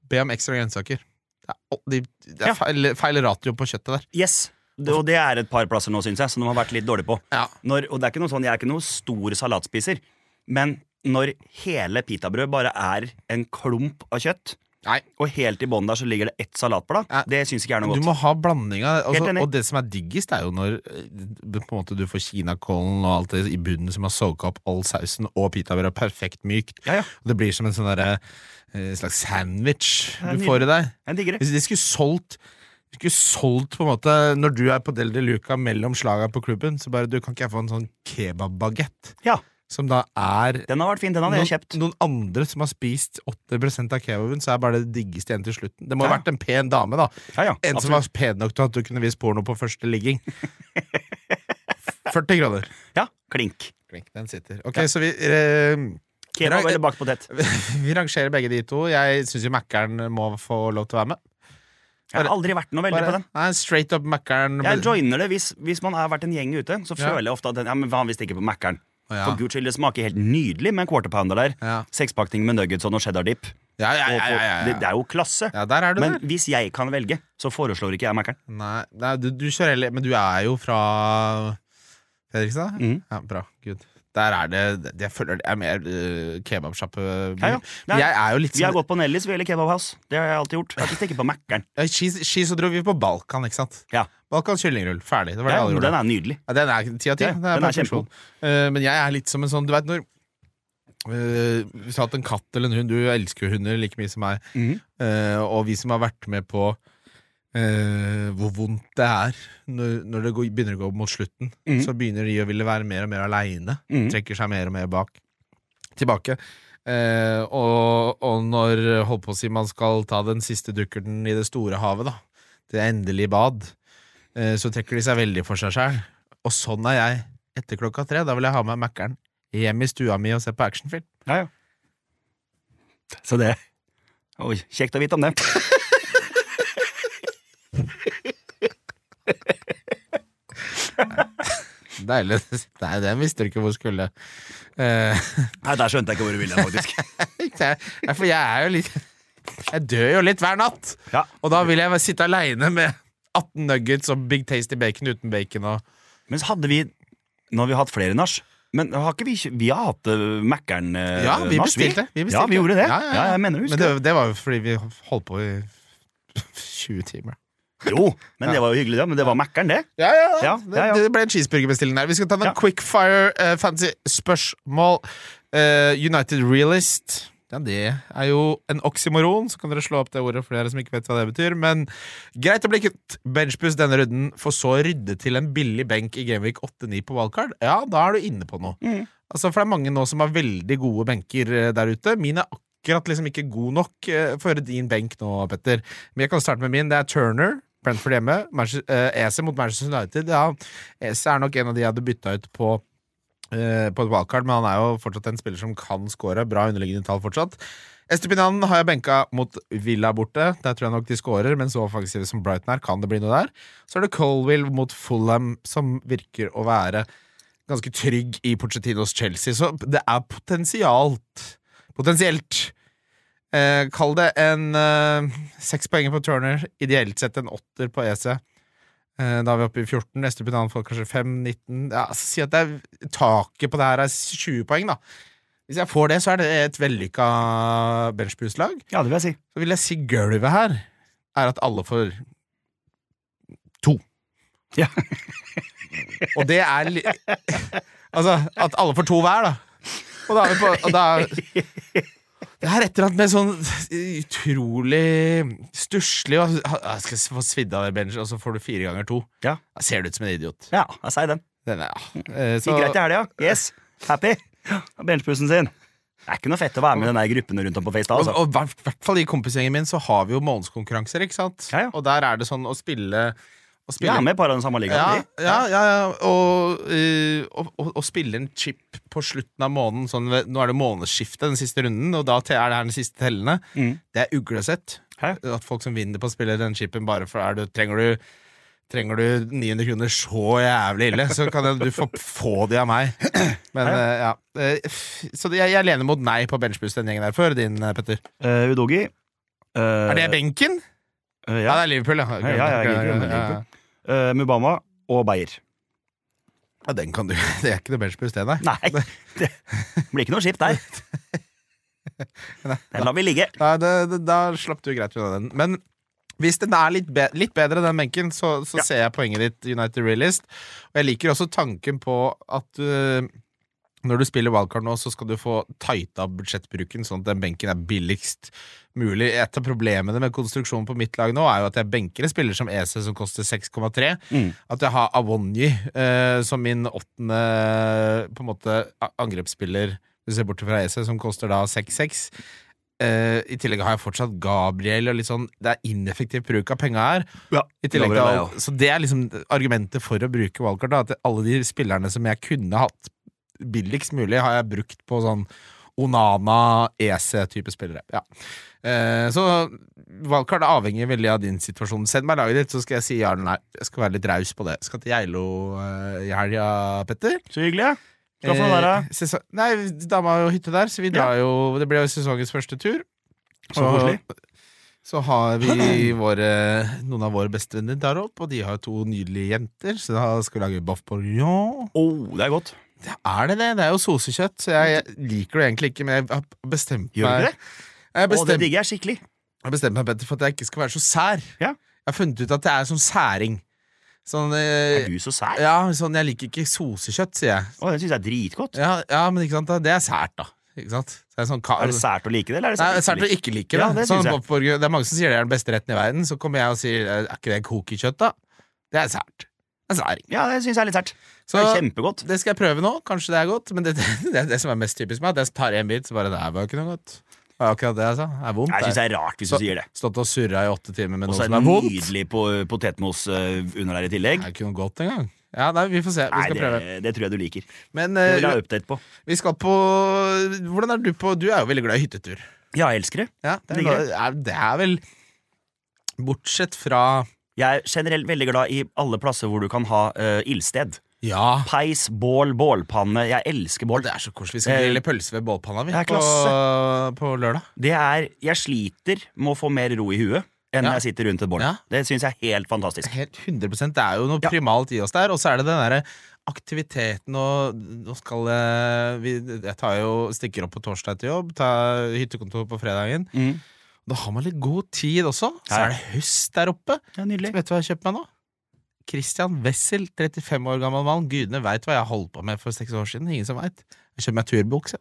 Speaker 2: be om ekstra grønnsaker. Det er, all- de, det er
Speaker 3: Ja.
Speaker 2: feil, feil ratio på kjøttet der.
Speaker 3: Yes det, og det er et par plasser nå, synes jeg Som de har vært litt dårlig på når, Og det er ikke noe sånn, jeg er ikke noen stor salatspiser Men når hele pitabrød bare er en klump av kjøtt
Speaker 2: Nei,
Speaker 3: Og helt i bånn der så ligger det ett salatblad
Speaker 2: Ja.
Speaker 3: Det synes ikke jeg er noe
Speaker 2: du
Speaker 3: godt
Speaker 2: må ha blandinga. Altså,
Speaker 3: Helt enig.
Speaker 2: og det som er diggest, er jo når eh, det, på en måte, du får kinakålen og alt det i bunnen som har soaka opp all sausen, og pitabrød perfekt mykt.
Speaker 3: Ja, ja,
Speaker 2: Og det blir som en sånn derre, eh, slags sandwich
Speaker 3: Ja,
Speaker 2: du
Speaker 3: nydelig.
Speaker 2: får i deg.
Speaker 3: jeg digger det
Speaker 2: Hvis de skulle solgt de skulle solgt på en måte Når du er på Del de Luca mellom slaga på klubben, så bare du kan ikke jeg få en sånn kebabbagett,
Speaker 3: Ja,
Speaker 2: som da er
Speaker 3: den har vært fin, den hadde jeg kjøpt
Speaker 2: noen, noen andre som har spist 80 av kebaben, så er bare det diggeste igjen til slutten. Det må ha
Speaker 3: Ja.
Speaker 2: vært en pen dame, da.
Speaker 3: Ja, ja,
Speaker 2: En som var
Speaker 3: absolutt
Speaker 2: pen nok til at du kunne vist porno på første ligging. 40 kroner.
Speaker 3: Ja, klink
Speaker 2: Klink, den sitter. Ok, så vi eh, Nei,
Speaker 3: Kebab eller bakt potet
Speaker 2: Vi rangerer begge de to. Jeg syns jo Mækkern må få lov til å være med.
Speaker 3: Jeg har aldri vært noe veldig på den
Speaker 2: Bare, nei, straight up Mækkern.
Speaker 3: Jeg joiner det hvis, hvis man har vært en gjeng ute. Så
Speaker 2: Ja.
Speaker 3: føler jeg ofte at den, ja, men vanligvis ikke på Mækkern.
Speaker 2: Ja.
Speaker 3: For guds skyld, det smaker helt nydelig med en quarter pounder der.
Speaker 2: Ja.
Speaker 3: Sekspakning med nuggets og noe cheddar dip.
Speaker 2: Ja, ja,
Speaker 3: Og
Speaker 2: ja,
Speaker 3: for-
Speaker 2: ja, ja.
Speaker 3: Det, det er jo klasse.
Speaker 2: ja der er du
Speaker 3: Men
Speaker 2: der.
Speaker 3: hvis jeg kan velge, så foreslår ikke jeg Mækkern.
Speaker 2: Nei, nei du, du kjører heller Men du er jo fra Fredrikstad?
Speaker 3: Mhm.
Speaker 2: Ja, bra. Gud. Der er det det- Jeg føler det er mer øh, kebabsjappe.
Speaker 3: Ja, ja. Nei.
Speaker 2: Jeg er jo litt
Speaker 3: Vi har
Speaker 2: sånn
Speaker 3: gått på Nellis eller Kebab House. Det har jeg alltid gjort. Jeg har ikke stikket på Mækkern.
Speaker 2: Ja, i Ski ski så dro vi på Balkan, ikke sant?
Speaker 3: Ja.
Speaker 2: Balkan kyllingrull. Ferdig. Det var det
Speaker 3: Ja,
Speaker 2: alle
Speaker 3: men den
Speaker 2: gjorde.
Speaker 3: er nydelig.
Speaker 2: Ja, den er ti av ti. Det
Speaker 3: Ja, den
Speaker 2: er
Speaker 3: er
Speaker 2: perfeksjon. Eh, men jeg er litt som en sånn Du veit når eh, Hvis du har hatt en katt eller en hund Du elsker jo hunder like mye som meg.
Speaker 3: Mhm.
Speaker 2: Eh, og vi som har vært med på eh, hvor vondt det er når, når det går, begynner å gå mot slutten,
Speaker 3: Mhm.
Speaker 2: så begynner de å ville være mer og mer aleine.
Speaker 3: Mhm.
Speaker 2: Trekker seg mer og mer bak. Tilbake. Eh, og, og når holdt på å si, man skal ta den siste dukkerten i det store havet, da, det endelige bad, eh, så trekker de seg veldig for seg sjæl. Og sånn er jeg etter klokka tre. Da vil jeg ha med Mækkern hjem i stua mi og se på actionfilm.
Speaker 3: Ja, ja. Så det Oi, kjekt å vite om det.
Speaker 2: Det deilig. Nei, den visste du ikke hvor skulle. Eh,
Speaker 3: Nei, Der skjønte jeg ikke hvor du ville, faktisk.
Speaker 2: det er- for jeg er jo litt Jeg dør jo litt hver natt.
Speaker 3: Ja.
Speaker 2: Og da vil jeg være- sitte aleine med 18 nuggets og Big Tasty bacon uten bacon og
Speaker 3: Men så hadde vi Nå har vi hatt flere nach. Men har ikke vi ikke Vi har hatt uh, Mækkern uh,
Speaker 2: Ja, vi bestilte. vi bestilte.
Speaker 3: Ja, vi gjorde det.
Speaker 2: Ja, ja, ja.
Speaker 3: jeg mener
Speaker 2: Men
Speaker 3: husker
Speaker 2: det, det var jo fordi vi holdt på i 20 timer.
Speaker 3: det. Jo, men det var jo hyggelig, det. Men det var Mækkern, det.
Speaker 2: Ja, ja, ja.
Speaker 3: Ja, ja, ja.
Speaker 2: Det, det ble en cheeseburgerbestilling der. Vi skal ta noen
Speaker 3: Ja.
Speaker 2: quickfire eh, fancy spørsmål. Eh, United Realist. Ja, det er jo en oksymoron, så kan dere slå opp det ordet for dere som ikke vet hva det betyr. Men greit å bli kutt. Benchbus denne runden, for så å rydde til en billig benk i Gameweek 8-9 på wildcard. Ja, da er du inne på noe. Altså, for det er mange nå som har veldig gode benker eh, der ute. Min er akkurat liksom ikke god nok eh, for å høre din benk nå, Petter. Men jeg kan starte med min. Det er Turner. Brentford hjemme. Manchester- eh, Eze mot Manchester United. Ja, Eze er nok en av de jeg hadde bytta ut på eh, på et wildcard, men han er jo fortsatt en spiller som kan score. Bra underliggende tall fortsatt. Estupinan har jeg benka mot Villa borte. Der tror jeg nok de scorer, men så offensive som Brighton er, kan det bli noe der. Så er det Colwill mot Fulham, som virker å være ganske trygg i Pochettino's Chelsea. Så det er potensialt Potensielt. Eh, kall det en eh, seks poenger på Turner, ideelt sett en åtter på EC. Eh, Da er vi oppe i 14. Neste penal får kanskje 5, 19 ja, altså, Si at det er taket på det her er 20 poeng, da. Hvis jeg får det, så er det et vellykka benchboost-lag.
Speaker 3: Ja, det vil jeg si.
Speaker 2: Så vil jeg si gulvet her er at alle får to.
Speaker 3: Ja.
Speaker 2: Og det er li Altså, at alle får to hver, da. Og da er vi på og da er, Det er et eller annet med sånn utrolig stusslig og- Jeg skal få svidd av det, Benji, og så får du fire ganger to.
Speaker 3: Ja.
Speaker 2: Da ser du ut som en idiot.
Speaker 3: Ja, jeg sier den.
Speaker 2: Den er, ja. Eh,
Speaker 3: Gikk greit i
Speaker 2: Så,
Speaker 3: helga. Yes. Happy. Benchpussen sin. Det er ikke noe fett å være med i den der gruppen rundt om på
Speaker 2: og
Speaker 3: FaceTime. Altså.
Speaker 2: og i hvert hvert fall i kompisgjengen min så har vi jo månedskonkurranser, ikke sant?
Speaker 3: Ja, ja.
Speaker 2: Og der er det sånn å spille å
Speaker 3: Vi
Speaker 2: spille
Speaker 3: er med i par av den samme
Speaker 2: Ja,
Speaker 3: ligaen. vi.
Speaker 2: ja, ja, ja. Og, eh, og, og, og spille en chip på slutten av måneden. Sånn, ved- nå er det månedsskifte den siste runden, og da te- er det her den siste tellende.
Speaker 3: Mm.
Speaker 2: Det er uglesett.
Speaker 3: Hæ?
Speaker 2: At folk som vinner på å spille den chipen bare for er du, trenger, du, trenger du 900 kroner så jævlig ille, så kan jeg, du få, få de av meg. Men eh, ja. Eh, f- Så det- jeg, jeg lener mot nei på benchboost den gjengen der før, din eh, Petter.
Speaker 3: Eh, Udogi. eh,
Speaker 2: Er det benken? Ja, det er Liverpool, ja.
Speaker 3: Ja, ja, ja, Liverpool, Liverpool. Eh, Mubama og Beyer.
Speaker 2: Ja, den kan du. Det er ikke noe benchboost, det, nei.
Speaker 3: Nei, det blir ikke noe skip der. Den lar vi ligge.
Speaker 2: Nei, det, det, da slapp du greit unna den. Men hvis den er litt, be litt bedre, den benken, så, så
Speaker 3: Ja.
Speaker 2: ser jeg poenget ditt, United Realist. Og jeg liker også tanken på at øh, når du spiller wildcard nå, så skal du få tighta budsjettbruken, sånn at den benken er billigst mulig. Et av problemene med konstruksjonen på mitt lag nå, er jo at jeg benker en spiller som EC, som koster 6,3.
Speaker 3: Mm.
Speaker 2: At jeg har Awonyi eh, som min åttende på en måte a- angrepsspiller, hvis du ser bort fra EC, som koster da 6-6. Eh, I tillegg har jeg fortsatt Gabriel og litt sånn Det er ineffektiv bruk av penga her.
Speaker 3: Ja,
Speaker 2: I tillegg til
Speaker 3: Gabriel er
Speaker 2: alt, så det er liksom argumentet for å bruke wildcard. Da, at alle de spillerne som jeg kunne hatt billigst mulig, har jeg brukt på sånn Onana, EC-type spillere. Ja. Eh, så wildcard avhenger veldig av din situasjon. Send meg laget ditt, så skal jeg si ja eller nei. Jeg skal være litt raus på det. Skal til Geilo eh, i helga, Petter.
Speaker 3: Så hyggelig. Skal få være
Speaker 2: Eh, sesong- Nei, dama har jo hytte der, så vi drar jo Det blir jo sesongens første tur.
Speaker 3: Så koselig.
Speaker 2: Så har vi våre, noen av våre bestevenner der oppe, og de har jo to nydelige jenter. Så da skal vi lage boff bourguignon.
Speaker 3: oh, det er godt.
Speaker 2: Det er det, det. Det er jo sosekjøtt, så jeg, jeg liker det egentlig ikke, men jeg har bestemt
Speaker 3: Gjør du
Speaker 2: meg
Speaker 3: det?
Speaker 2: Jeg har
Speaker 3: Å, det
Speaker 2: bestemt,
Speaker 3: digger jeg skikkelig.
Speaker 2: jeg har bestemt meg Petter, for at jeg ikke skal være så sær.
Speaker 3: Ja.
Speaker 2: Jeg har funnet ut at jeg er sånn særing. Sånn, eh,
Speaker 3: Er du så sær?
Speaker 2: ja, sånn Jeg liker ikke sosekjøtt, sier jeg.
Speaker 3: Å, det syns jeg er dritgodt.
Speaker 2: Ja, ja, men ikke sant, da, det er sært, da. Ikke sant? Så det er, sånn, ka-
Speaker 3: Er det sært å like det, eller er det
Speaker 2: Nei,
Speaker 3: sært,
Speaker 2: sært å
Speaker 3: like?
Speaker 2: ikke like det.
Speaker 3: Ja, det
Speaker 2: sånn,
Speaker 3: synes jeg.
Speaker 2: Bobborg- det er mange som sier det er den beste retten i verden. Så kommer jeg og sier er ikke det kokekjøtt, da? Det er sært. Det er særing.
Speaker 3: Ja, det syns jeg er litt sært. Det
Speaker 2: Så
Speaker 3: er kjempegodt.
Speaker 2: det skal jeg prøve nå. Kanskje det er godt. Men det, det, det, er det som er mest typisk med, at jeg tar en bit, så bare Det her var jo ikke noe godt. Det var akkurat det jeg sa. Det er vondt.
Speaker 3: Jeg
Speaker 2: det.
Speaker 3: syns det er rart hvis du
Speaker 2: Så-
Speaker 3: sier det.
Speaker 2: Stått og surra i åtte timer med
Speaker 3: Og
Speaker 2: noe
Speaker 3: så er
Speaker 2: som
Speaker 3: det
Speaker 2: er vondt.
Speaker 3: nydelig på potetmos eh, under her i tillegg.
Speaker 2: Det er ikke noe godt engang. Ja, nei, vi får se. Vi
Speaker 3: Nei,
Speaker 2: skal
Speaker 3: det,
Speaker 2: prøve.
Speaker 3: det tror jeg du liker.
Speaker 2: Men
Speaker 3: Det vil
Speaker 2: eh,
Speaker 3: jeg ha update på.
Speaker 2: vi skal på Hvordan er du på Du er jo veldig glad i hyttetur.
Speaker 3: Ja, jeg elsker det.
Speaker 2: Ja, det, er,
Speaker 3: Digger
Speaker 2: glad- er, det er vel Bortsett fra
Speaker 3: Jeg er generelt veldig glad i alle plasser hvor du kan ha eh, ildsted.
Speaker 2: Ja.
Speaker 3: Peis, bål, bålpanne. Jeg elsker bål.
Speaker 2: Det er så koselig. Vi skal grille pølse ved bålpanna vi
Speaker 3: det er
Speaker 2: på,
Speaker 3: klasse.
Speaker 2: på lørdag.
Speaker 3: Det er, jeg sliter med å få mer ro i huet
Speaker 2: Ja.
Speaker 3: enn når jeg sitter rundt et bål.
Speaker 2: Ja.
Speaker 3: Det syns jeg er helt fantastisk.
Speaker 2: Helt 100 Det er jo noe
Speaker 3: Ja.
Speaker 2: primalt i oss der. Og så er det den derre aktiviteten og Nå skal eh, vi Jeg tar jo, stikker opp på torsdag til jobb, tar hyttekontor på fredagen.
Speaker 3: Mm.
Speaker 2: Da har man litt god tid også. Så
Speaker 3: Ja.
Speaker 2: er det høst der oppe.
Speaker 3: Ja, nydelig.
Speaker 2: Vet du hva jeg har kjøpt meg nå? Christian Wessel, 35 år gammel mann. Gudene veit hva jeg holdt på med for seks år siden. Ingen som veit. Jeg kjøper meg turbukse.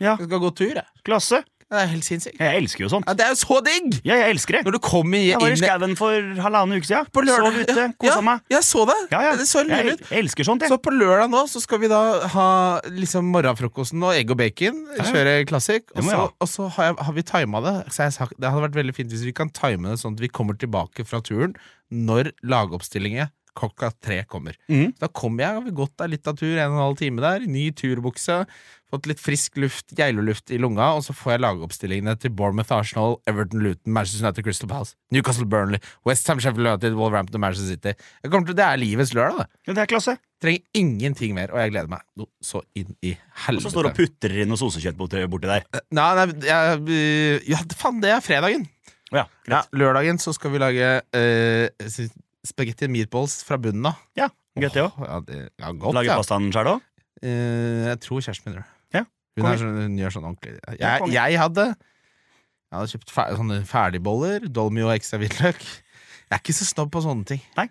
Speaker 3: Ja.
Speaker 2: Jeg skal gå tur, jeg.
Speaker 3: Klasse.
Speaker 2: Det er helt sinnssykt.
Speaker 3: Jeg elsker jo sånt.
Speaker 2: Ja, det er jo så digg!
Speaker 3: Ja, jeg elsker det.
Speaker 2: Når du kommer
Speaker 3: Jeg var i
Speaker 2: inn
Speaker 3: skauen for halvannen uke siden.
Speaker 2: på lørdag
Speaker 3: Sov ute, kosa
Speaker 2: ja,
Speaker 3: meg.
Speaker 2: Jeg så det.
Speaker 3: Ja, ja.
Speaker 2: Det så
Speaker 3: Jeg,
Speaker 2: lurt ut.
Speaker 3: jeg elsker sånt, jeg.
Speaker 2: Så på lørdag nå så skal vi da ha liksom morgenfrokosten og egg og bacon.
Speaker 3: ja.
Speaker 2: Kjøre klassik. Og
Speaker 3: Det må jeg
Speaker 2: så,
Speaker 3: ha.
Speaker 2: og så har, jeg, har vi tima det. Så jeg har sagt, det hadde vært veldig fint hvis vi kan time det sånn at vi kommer tilbake fra turen når lagoppstillingen klokka tre kommer.
Speaker 3: Mhm.
Speaker 2: Da kommer jeg, har vi gått der litt av tur, en og en halv time der, ny turbukse, fått litt frisk luft, geiloluft i lunga, og så får jeg lagoppstillingene til Bournemouth, Arsenal, Everton, Luton, Manchester United, Crystal Palace, Newcastle, Burnley, West Ham, Sheffield United, Wolverhampton, Manchester City. Jeg kommer til, det er livets lørdag, det.
Speaker 3: Ja, det er klasse.
Speaker 2: Trenger ingenting mer, og jeg gleder meg noe så inn i
Speaker 3: Og så står du og
Speaker 2: helvete.
Speaker 3: putter inn noe sosekjøtt borti, borti der.
Speaker 2: Nei, nei, jeg, øh, ja, faen, det er fredagen.
Speaker 3: Ja,
Speaker 2: Ja,
Speaker 3: greit.
Speaker 2: lørdagen så skal vi lage øh, spagetti and meatballs fra bunnen av.
Speaker 3: Ja, Greit, det òg.
Speaker 2: Åh, Ja, det ja, godt,
Speaker 3: Lager
Speaker 2: ja.
Speaker 3: pastaen sjæl òg?
Speaker 2: Eh, jeg tror kjæresten min gjør det.
Speaker 3: Ja,
Speaker 2: Hun,
Speaker 3: konge.
Speaker 2: er sånn, hun gjør sånn ordentlig.
Speaker 3: Ja,
Speaker 2: Jeg,
Speaker 3: konge.
Speaker 2: jeg hadde Jeg hadde kjøpt fer, sånne ferdigboller, dolmio og ekstra hvitløk. Jeg er ikke så snobb på sånne ting.
Speaker 3: Nei.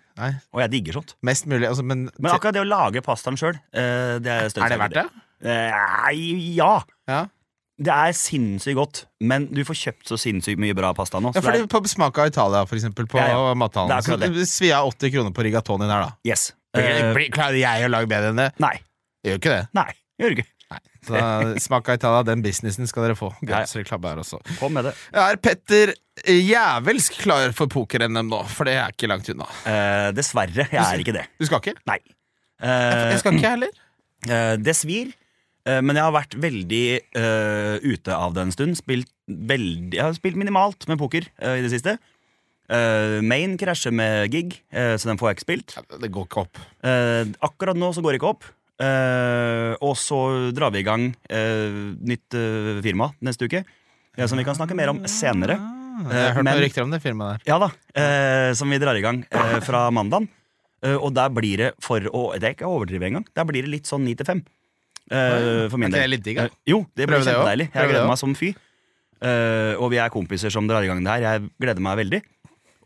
Speaker 3: Og jeg digger sånt.
Speaker 2: Mest mulig, altså, men,
Speaker 3: Men akkurat det å lage pastaen sjøl, det er
Speaker 2: er det verdt det?
Speaker 3: Nei, ja.
Speaker 2: Ja.
Speaker 3: Det er sinnssykt godt, men du får kjøpt så sinnssykt mye bra pasta nå.
Speaker 2: Ja,
Speaker 3: Så
Speaker 2: fordi
Speaker 3: det er,
Speaker 2: På Smak av Italia, for eksempel, på
Speaker 3: Ja, ja. Det
Speaker 2: mathallen,
Speaker 3: er akkurat
Speaker 2: så svi av 80 kroner på rigatonien her, da.
Speaker 3: yes.
Speaker 2: Blir-
Speaker 3: Eh,
Speaker 2: blir- Klarer jeg å lage bedre enn det?
Speaker 3: nei.
Speaker 2: Jeg Gjør ikke det.
Speaker 3: Nei. Gjør du ikke.
Speaker 2: Så da, Smak av Italia, den businessen skal dere få.
Speaker 3: Ja, ja.
Speaker 2: Gratis reklame her også.
Speaker 3: Kom med det.
Speaker 2: Er Petter jævelsk klar for poker-NM nå? For det er ikke langt unna.
Speaker 3: Eh, dessverre, jeg er ikke det.
Speaker 2: Du skal ikke?
Speaker 3: Nei. Eh,
Speaker 2: Jeg skal ikke, jeg heller.
Speaker 3: Eh, Det svir, eh, men jeg har vært veldig eh, ute av det en stund. Spilt, veldig, jeg har spilt minimalt med poker eh, i det siste. Eh, Main krasjer med gig, eh, så den får jeg ikke spilt.
Speaker 2: Ja, Det går ikke opp.
Speaker 3: Eh, akkurat nå så går det ikke opp. Eh, og så drar vi i gang eh, nytt eh, firma neste uke, eh, som vi kan snakke mer om senere. Eh,
Speaker 2: Jeg har hørt
Speaker 3: men-
Speaker 2: noen rykter om det firmaet der.
Speaker 3: Ja da, eh, som vi drar i gang eh, fra mandagen. Eh, og der blir det for å Det er ikke å overdrive engang. Der blir det litt sånn ni til fem. Eh,
Speaker 2: Er
Speaker 3: for min
Speaker 2: ikke det
Speaker 3: del.
Speaker 2: litt digg, da?
Speaker 3: Eh, jo, det blir
Speaker 2: Prøv det også.
Speaker 3: kjempedeilig.
Speaker 2: Prøv
Speaker 3: Jeg
Speaker 2: det også.
Speaker 3: gleder meg som fy. Eh, og vi er kompiser som drar i gang det her. Jeg gleder meg veldig.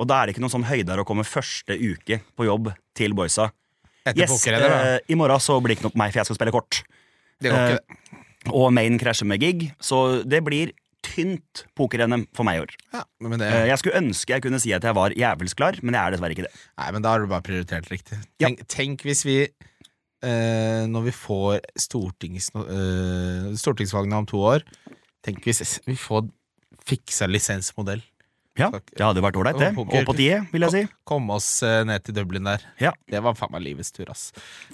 Speaker 3: Og da er det ikke noen sånn høyder å komme første uke på jobb til boysa.
Speaker 2: Etter
Speaker 3: Yes,
Speaker 2: poker, eller?
Speaker 3: eh, I morgen så blir det ikke nok meg, for jeg skal spille kort.
Speaker 2: det går ikke, det.
Speaker 3: Og Main krasjer med gig, så det blir tynt poker-NM for meg i år.
Speaker 2: Ja, men det
Speaker 3: Eh, Jeg skulle ønske jeg kunne si at jeg var jævels klar, men jeg er dessverre ikke det.
Speaker 2: Nei, men da har du bare prioritert riktig.
Speaker 3: Ja.
Speaker 2: Tenk, tenk hvis vi eh, Når vi får stortings, eh, stortingsvalgene om to år Tenk hvis vi får fiksa lisensmodell.
Speaker 3: Ja,
Speaker 2: Takk.
Speaker 3: Det hadde vært ålreit,
Speaker 2: Det
Speaker 3: det.
Speaker 2: var poker.
Speaker 3: Og på tide, vil jeg si.
Speaker 2: Komme oss eh, ned til Dublin der.
Speaker 3: Ja.
Speaker 2: Det var faen meg livets tur, ass.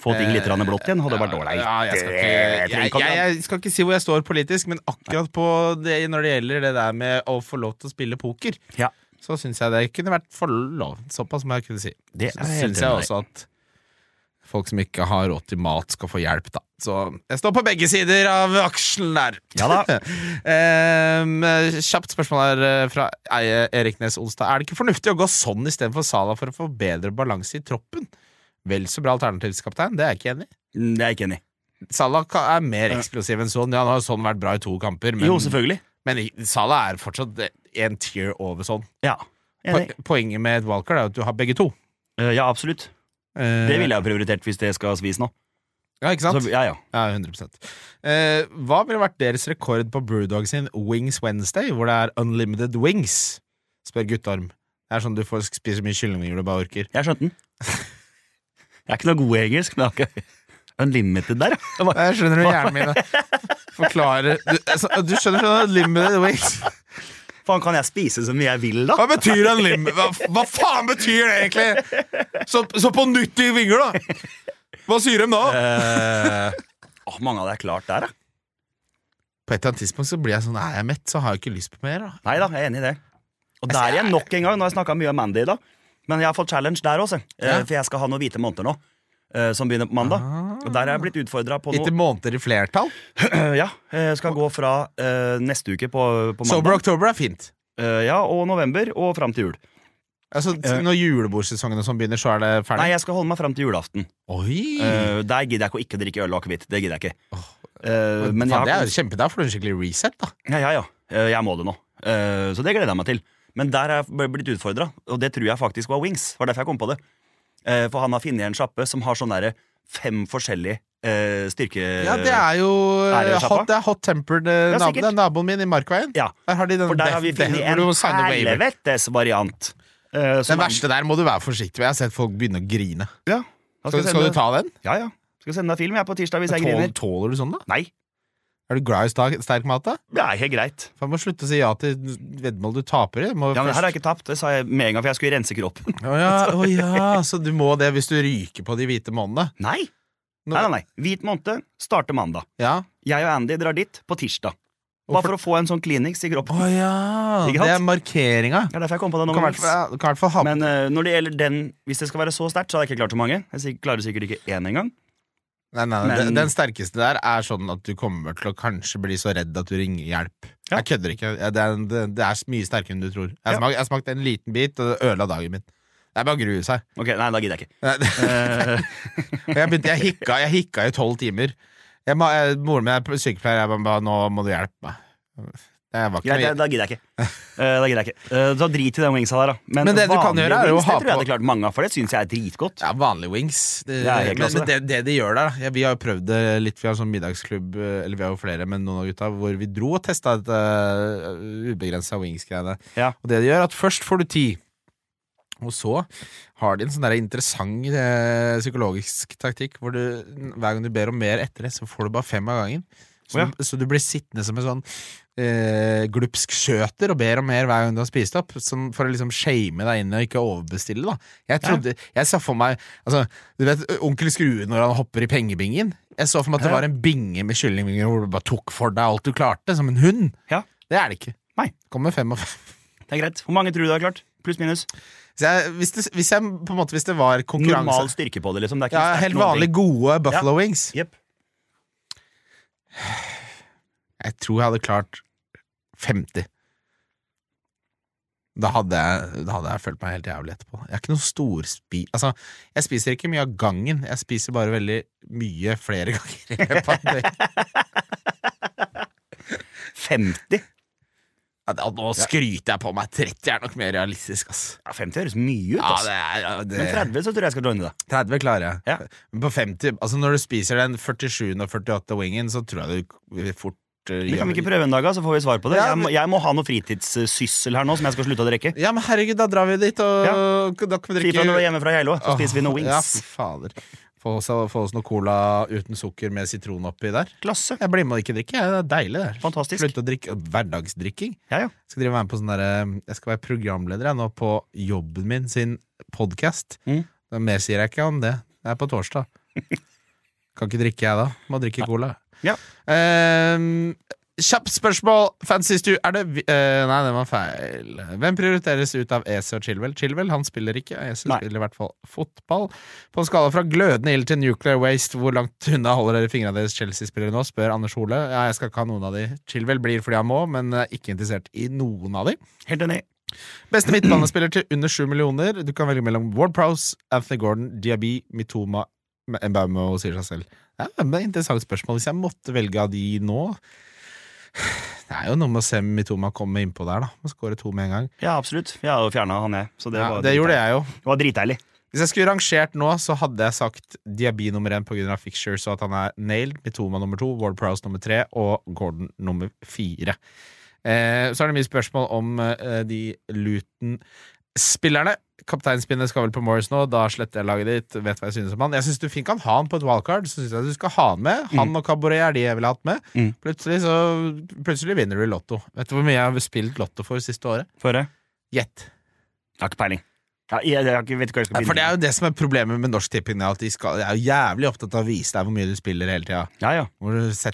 Speaker 3: Få ting litt grann blått igjen hadde vært
Speaker 2: Ja,
Speaker 3: ålreit.
Speaker 2: ja, jeg, skal
Speaker 3: Det
Speaker 2: ikke, jeg,
Speaker 3: trenger ikke å
Speaker 2: jeg, jeg skal ikke si hvor jeg står politisk, men akkurat på det, når det gjelder det der med å få lov til å spille poker,
Speaker 3: Ja.
Speaker 2: så syns jeg det kunne vært for lov. Såpass må jeg kunne si.
Speaker 3: Det
Speaker 2: Så
Speaker 3: er jeg helt
Speaker 2: syns jeg
Speaker 3: enig i.
Speaker 2: også at folk som ikke har råd til mat, skal få hjelp, da. Så jeg står på begge sider av aksjen der.
Speaker 3: Ja da.
Speaker 2: Em, kjapt spørsmål her eh, fra Eie Erik Nes Olstad. Er det ikke fornuftig å gå sånn istedenfor Sala for å få bedre balanse i troppen? Vel så bra alternativskaptein, det er jeg ikke enig i.
Speaker 3: mm, Det er jeg ikke enig i.
Speaker 2: Salah ka- er mer eksplosiv enn sånn. Ja, han har jo sånn vært bra i to kamper, men,
Speaker 3: Jo, selvfølgelig.
Speaker 2: men i- Salah er fortsatt en tier over sånn.
Speaker 3: Ja.
Speaker 2: Po
Speaker 3: Enig.
Speaker 2: poenget med et wildcard er jo at du har begge to.
Speaker 3: Eh, Ja, absolutt.
Speaker 2: Eh,
Speaker 3: Det ville jeg ha prioritert hvis det skal svis nå.
Speaker 2: Ja, ikke sant?
Speaker 3: Så, ja, ja.
Speaker 2: Altså, Ja, 100 eh, Hva ville vært deres rekord på Brewdog sin Wings Wednesday, hvor det er unlimited wings? Spør Guttorm. Det er sånn du får spise så mye kyllingvinger du bare orker.
Speaker 3: Jeg skjønte den. Jeg er ikke noe god i engelsk, men jeg har ikke Unlimited der, ja. Det var-
Speaker 2: Jeg skjønner du hjernen min forklarer Du, altså, du skjønner sånn unlimited wings?
Speaker 3: Faen, kan jeg spise så mye jeg vil, da?
Speaker 2: Hva betyr en lim... Hva, hva faen betyr det egentlig? Så, så på nytt i vinger, da! Hva sier de da?
Speaker 3: Eh, Åh, mange av det er klart der, ja.
Speaker 2: På et eller annet tidspunkt så blir jeg sånn Er jeg mett, så har jeg ikke lyst på mer. da
Speaker 3: Nei da, jeg er enig i det. Og
Speaker 2: Altså,
Speaker 3: der er jeg nok en gang. Nå har jeg snakka mye om Mandy i dag, men jeg har fått challenge der også. eh,
Speaker 2: Ja. Ah.
Speaker 3: For jeg skal ha noen hvite måneder nå. eh, som begynner på mandag. Og der har jeg blitt utfordra på
Speaker 2: Gitt i
Speaker 3: noe.
Speaker 2: måneder i flertall.
Speaker 3: Ja, jeg skal gå fra eh, neste uke på, på
Speaker 2: Sober
Speaker 3: mandag
Speaker 2: October er fint.
Speaker 3: eh, ja, og november og fram til jul.
Speaker 2: Altså, når julebordsesongen og sånn begynner, så er det ferdig?
Speaker 3: Nei, jeg skal holde meg fram til julaften.
Speaker 2: Oi!
Speaker 3: Eh, der gidder jeg ikke å ikke drikke øl og akevitt. Det gidder jeg ikke. Eh,
Speaker 2: men
Speaker 3: men jeg,
Speaker 2: faen, det er
Speaker 3: har-
Speaker 2: jo kjempe, da får du skikkelig reset, da.
Speaker 3: ja, ja, ja. Eh, jeg må det nå. Eh, så det gleder jeg meg til. Men der har jeg b- blitt utfordra, og det tror jeg faktisk var Wings. Det var derfor jeg kom på det. Eh, for han har funnet en sjappe som har sånn derre fem forskjellige eh, styrke...
Speaker 2: Ja, det er jo
Speaker 3: Eh,
Speaker 2: eh,
Speaker 3: Er det sjappa?
Speaker 2: hot, det er hot tempered eh,
Speaker 3: Ja,
Speaker 2: nabo,
Speaker 3: sikkert.
Speaker 2: det er naboen min i Markveien.
Speaker 3: Ja.
Speaker 2: Der har de den
Speaker 3: For der har vi
Speaker 2: den-
Speaker 3: funnet
Speaker 2: hvor du må signe
Speaker 3: en
Speaker 2: waiver.
Speaker 3: helvetes variant. Eh, som
Speaker 2: Den verste der må du være forsiktig med. Jeg har sett folk begynne å grine.
Speaker 3: er, ja. Da
Speaker 2: Skal,
Speaker 3: jeg
Speaker 2: skal
Speaker 3: sende-
Speaker 2: du ta den?
Speaker 3: Ja, ja. Skal sende deg film jeg på tirsdag hvis jeg
Speaker 2: Tåler,
Speaker 3: griner.
Speaker 2: tåler du sånn, da?
Speaker 3: Nei,
Speaker 2: Er du glad i sta- sterk mat, da?
Speaker 3: det er helt greit.
Speaker 2: For jeg må slutte å si ja til veddemål du taper i. Du Må
Speaker 3: Ja, men her har
Speaker 2: først-
Speaker 3: jeg ikke tapt. Det sa jeg med en gang, for jeg skulle rense kroppen.
Speaker 2: Å ja, å ja, så du må det hvis du ryker på de hvite månedene?
Speaker 3: Nei,
Speaker 2: Nå-
Speaker 3: nei, nei, nei. Hvit måned starter mandag.
Speaker 2: Ja.
Speaker 3: Jeg og Andy drar dit på tirsdag.
Speaker 2: Og
Speaker 3: Bare
Speaker 2: for-
Speaker 3: for å få en sånn klinings i
Speaker 2: Å
Speaker 3: kroppen.
Speaker 2: ja!
Speaker 3: Ikke
Speaker 2: Det
Speaker 3: sant?
Speaker 2: er markeringa.
Speaker 3: Det er derfor jeg kom på det
Speaker 2: Du
Speaker 3: nå.
Speaker 2: kan i
Speaker 3: med
Speaker 2: hvert
Speaker 3: Wings.
Speaker 2: fall- du kan i hvert fall ha
Speaker 3: Men eh, når det gjelder den, hvis det skal være så sterkt, så hadde jeg ikke klart så mange. Jeg sik- klarer sikkert ikke én engang.
Speaker 2: Nei, nei,
Speaker 3: Men-
Speaker 2: den, den sterkeste der er sånn at du kommer til å kanskje bli så redd at du ringer hjelp.
Speaker 3: Ja.
Speaker 2: Jeg kødder ikke. Jeg- Det er, en- det, det er så mye sterkere enn du tror. Jeg,
Speaker 3: Ja.
Speaker 2: smak, jeg smakte en liten bit, og det ødela dagen min. Det er bare å grue seg.
Speaker 3: Ok, nei, da gidder jeg ikke.
Speaker 2: Nei, det-
Speaker 3: Eh,
Speaker 2: Jeg, begynte, jeg, hikka, jeg hikka i tolv timer. Jeg, ma- jeg, moren min er sykepleier. Jeg bare, ba, 'Nå må du hjelpe meg'. Det var ikke
Speaker 3: ja,
Speaker 2: noe
Speaker 3: det- da gidder jeg ikke. Eh, da gidder jeg ikke. Eh, så drit i den wingsa der, da.
Speaker 2: Men det du kan
Speaker 3: vanlige
Speaker 2: gjøre er jo å ha
Speaker 3: wings, Det tror jeg
Speaker 2: på-
Speaker 3: hadde klart mange av, for det syns jeg er dritgodt.
Speaker 2: Ja, vanlige wings. Det,
Speaker 3: Det er helt
Speaker 2: men
Speaker 3: klasse,
Speaker 2: men det, det de gjør der, da ja, Vi har jo prøvd det litt. Vi har en sånn middagsklubb, eh, eller vi har jo flere, men noen av gutta, hvor vi dro og testa dette uh, ubegrensa wings-greiene.
Speaker 3: Ja.
Speaker 2: Og det de gjør, er at først får du ti. Og så har de en sånn der interessant eh, psykologisk taktikk hvor du, hver gang du ber om mer etter det, så får du bare fem av gangen. Så,
Speaker 3: Å ja.
Speaker 2: du, så du blir sittende som en sånn eh, glupsk skjøter og ber om mer hver gang du har spist opp, som, for å liksom shame deg inn og ikke overbestille. da Jeg trodde, jeg sa for meg altså, Du vet onkel Skrue når han hopper i pengebingen? Jeg så for meg at det
Speaker 3: Ja.
Speaker 2: var en binge med kyllingvinger hvor du bare tok for deg alt du klarte, som en hund.
Speaker 3: Ja.
Speaker 2: Det er det ikke.
Speaker 3: Nei.
Speaker 2: Kommer fem og fem.
Speaker 3: Det er greit. Hvor mange tror du du har klart? Pluss, minus.
Speaker 2: Så jeg, hvis, det, hvis, jeg, på en måte, hvis det var konkurranse
Speaker 3: Normal styrke på det, liksom. Det er ikke
Speaker 2: ja,
Speaker 3: sterkt
Speaker 2: Helt
Speaker 3: noen ting.
Speaker 2: vanlig gode Buffalo Wings.
Speaker 3: Jepp.
Speaker 2: Jeg tror jeg hadde klart 50. Da hadde, jeg, da hadde jeg følt meg helt jævlig etterpå. Jeg er ikke noen storspi... Altså, jeg spiser ikke mye av gangen, jeg spiser bare veldig mye flere ganger. i løpet av en dag.
Speaker 3: 50?
Speaker 2: Ja, da- Nå skryter jeg på meg. 30 er nok mer realistisk, ass.
Speaker 3: Ja, 50 høres mye ut,
Speaker 2: Ja,
Speaker 3: ass.
Speaker 2: det er, ja, det...
Speaker 3: Men 30 så tror jeg jeg skal joine deg.
Speaker 2: 30 klarer jeg.
Speaker 3: Ja.
Speaker 2: Men på 50 altså Når du spiser den 47. og 48. wingen, så tror jeg du fort eh,
Speaker 3: Vi kan
Speaker 2: gjør-
Speaker 3: vi ikke prøve en dag, da, så får vi svar på det.
Speaker 2: Ja,
Speaker 3: Jeg
Speaker 2: men-
Speaker 3: må, jeg må ha noe fritidssyssel her nå som jeg skal slutte å drikke.
Speaker 2: Ja, men herregud, da drar vi dit, og da kan vi
Speaker 3: Si
Speaker 2: drikke
Speaker 3: fra når du er hjemme fra Geilo, så spiser vi noe
Speaker 2: Ja,
Speaker 3: wings.
Speaker 2: fader. Få oss, få oss noe cola uten sukker med sitron oppi der.
Speaker 3: Klasse.
Speaker 2: Jeg blir med og ikke drikke. jeg. Det er deilig, det. her.
Speaker 3: Fantastisk.
Speaker 2: Slutte å drikke hverdagsdrikking.
Speaker 3: Ja, ja.
Speaker 2: Jeg skal, drive og være med på sånn der, eh, jeg skal være programleder jeg, nå på jobben min sin podkast.
Speaker 3: Mm.
Speaker 2: Mer sier jeg ikke om det. Det er på torsdag. kan ikke drikke jeg da. Må drikke cola.
Speaker 3: Ja.
Speaker 2: Ehm, Kjapt spørsmål. Fancy Stu, er det vi- eh, Nei, det var feil. Hvem prioriteres ut av Ese og Chilwell? Chilwell han spiller ikke. Ese
Speaker 3: Nei.
Speaker 2: spiller i hvert fall fotball. På en skala fra glødende ild til nuclear waste, hvor langt unna holder dere fingrene deres Chelsea-spillere nå? spør Anders Hole. Ja, jeg skal ikke ha noen av de. Chilwell blir fordi han må, men er ikke interessert i noen av de.
Speaker 3: Helt enig.
Speaker 2: Beste midtbanespiller til under 7 millioner. Du kan velge mellom Ward Prowse, Anthony Gordon, Diaby, Mitoma Mbaumo sier seg selv. Det er et interessant spørsmål. Hvis jeg måtte velge av de nå Det er jo noe med å se Mitoma komme innpå der, da. Må skåre to med en gang.
Speaker 3: Ja, absolutt. Jeg har jo fjerna han, jeg. Så
Speaker 2: Det,
Speaker 3: det,
Speaker 2: ja,
Speaker 3: var
Speaker 2: det gjorde jeg jo.
Speaker 3: Det var dritdeilig.
Speaker 2: Hvis jeg skulle rangert nå, så hadde jeg sagt Diaby nummer én pga. Fictures og at han er nailed. Mitoma nummer to, Ward Prowse nummer tre og Gordon nummer fire. Eh, så er det mye spørsmål om eh, de Luton-spillerne. Kapteinspinnet skal vel på Morris nå, da sletter jeg laget ditt. Vet hva Jeg synes om han Jeg syns du fint kan ha han på et wildcard. Så synes jeg du skal ha han med Han og Cabaret er de jeg ville hatt med.
Speaker 3: Mm.
Speaker 2: Plutselig så Plutselig vinner du Lotto. Vet du hvor mye jeg har spilt Lotto for siste året?
Speaker 3: Få høre.
Speaker 2: Gjett.
Speaker 3: Jeg har ikke peiling. Ja, jeg, jeg, jeg vet ikke hva jeg skal
Speaker 2: Ja, for det
Speaker 3: begynne
Speaker 2: er jo det som er problemet med Norsk Tipping. At de, skal, de er jo jævlig opptatt av å vise deg hvor mye du spiller hele tida.
Speaker 3: Ja, ja.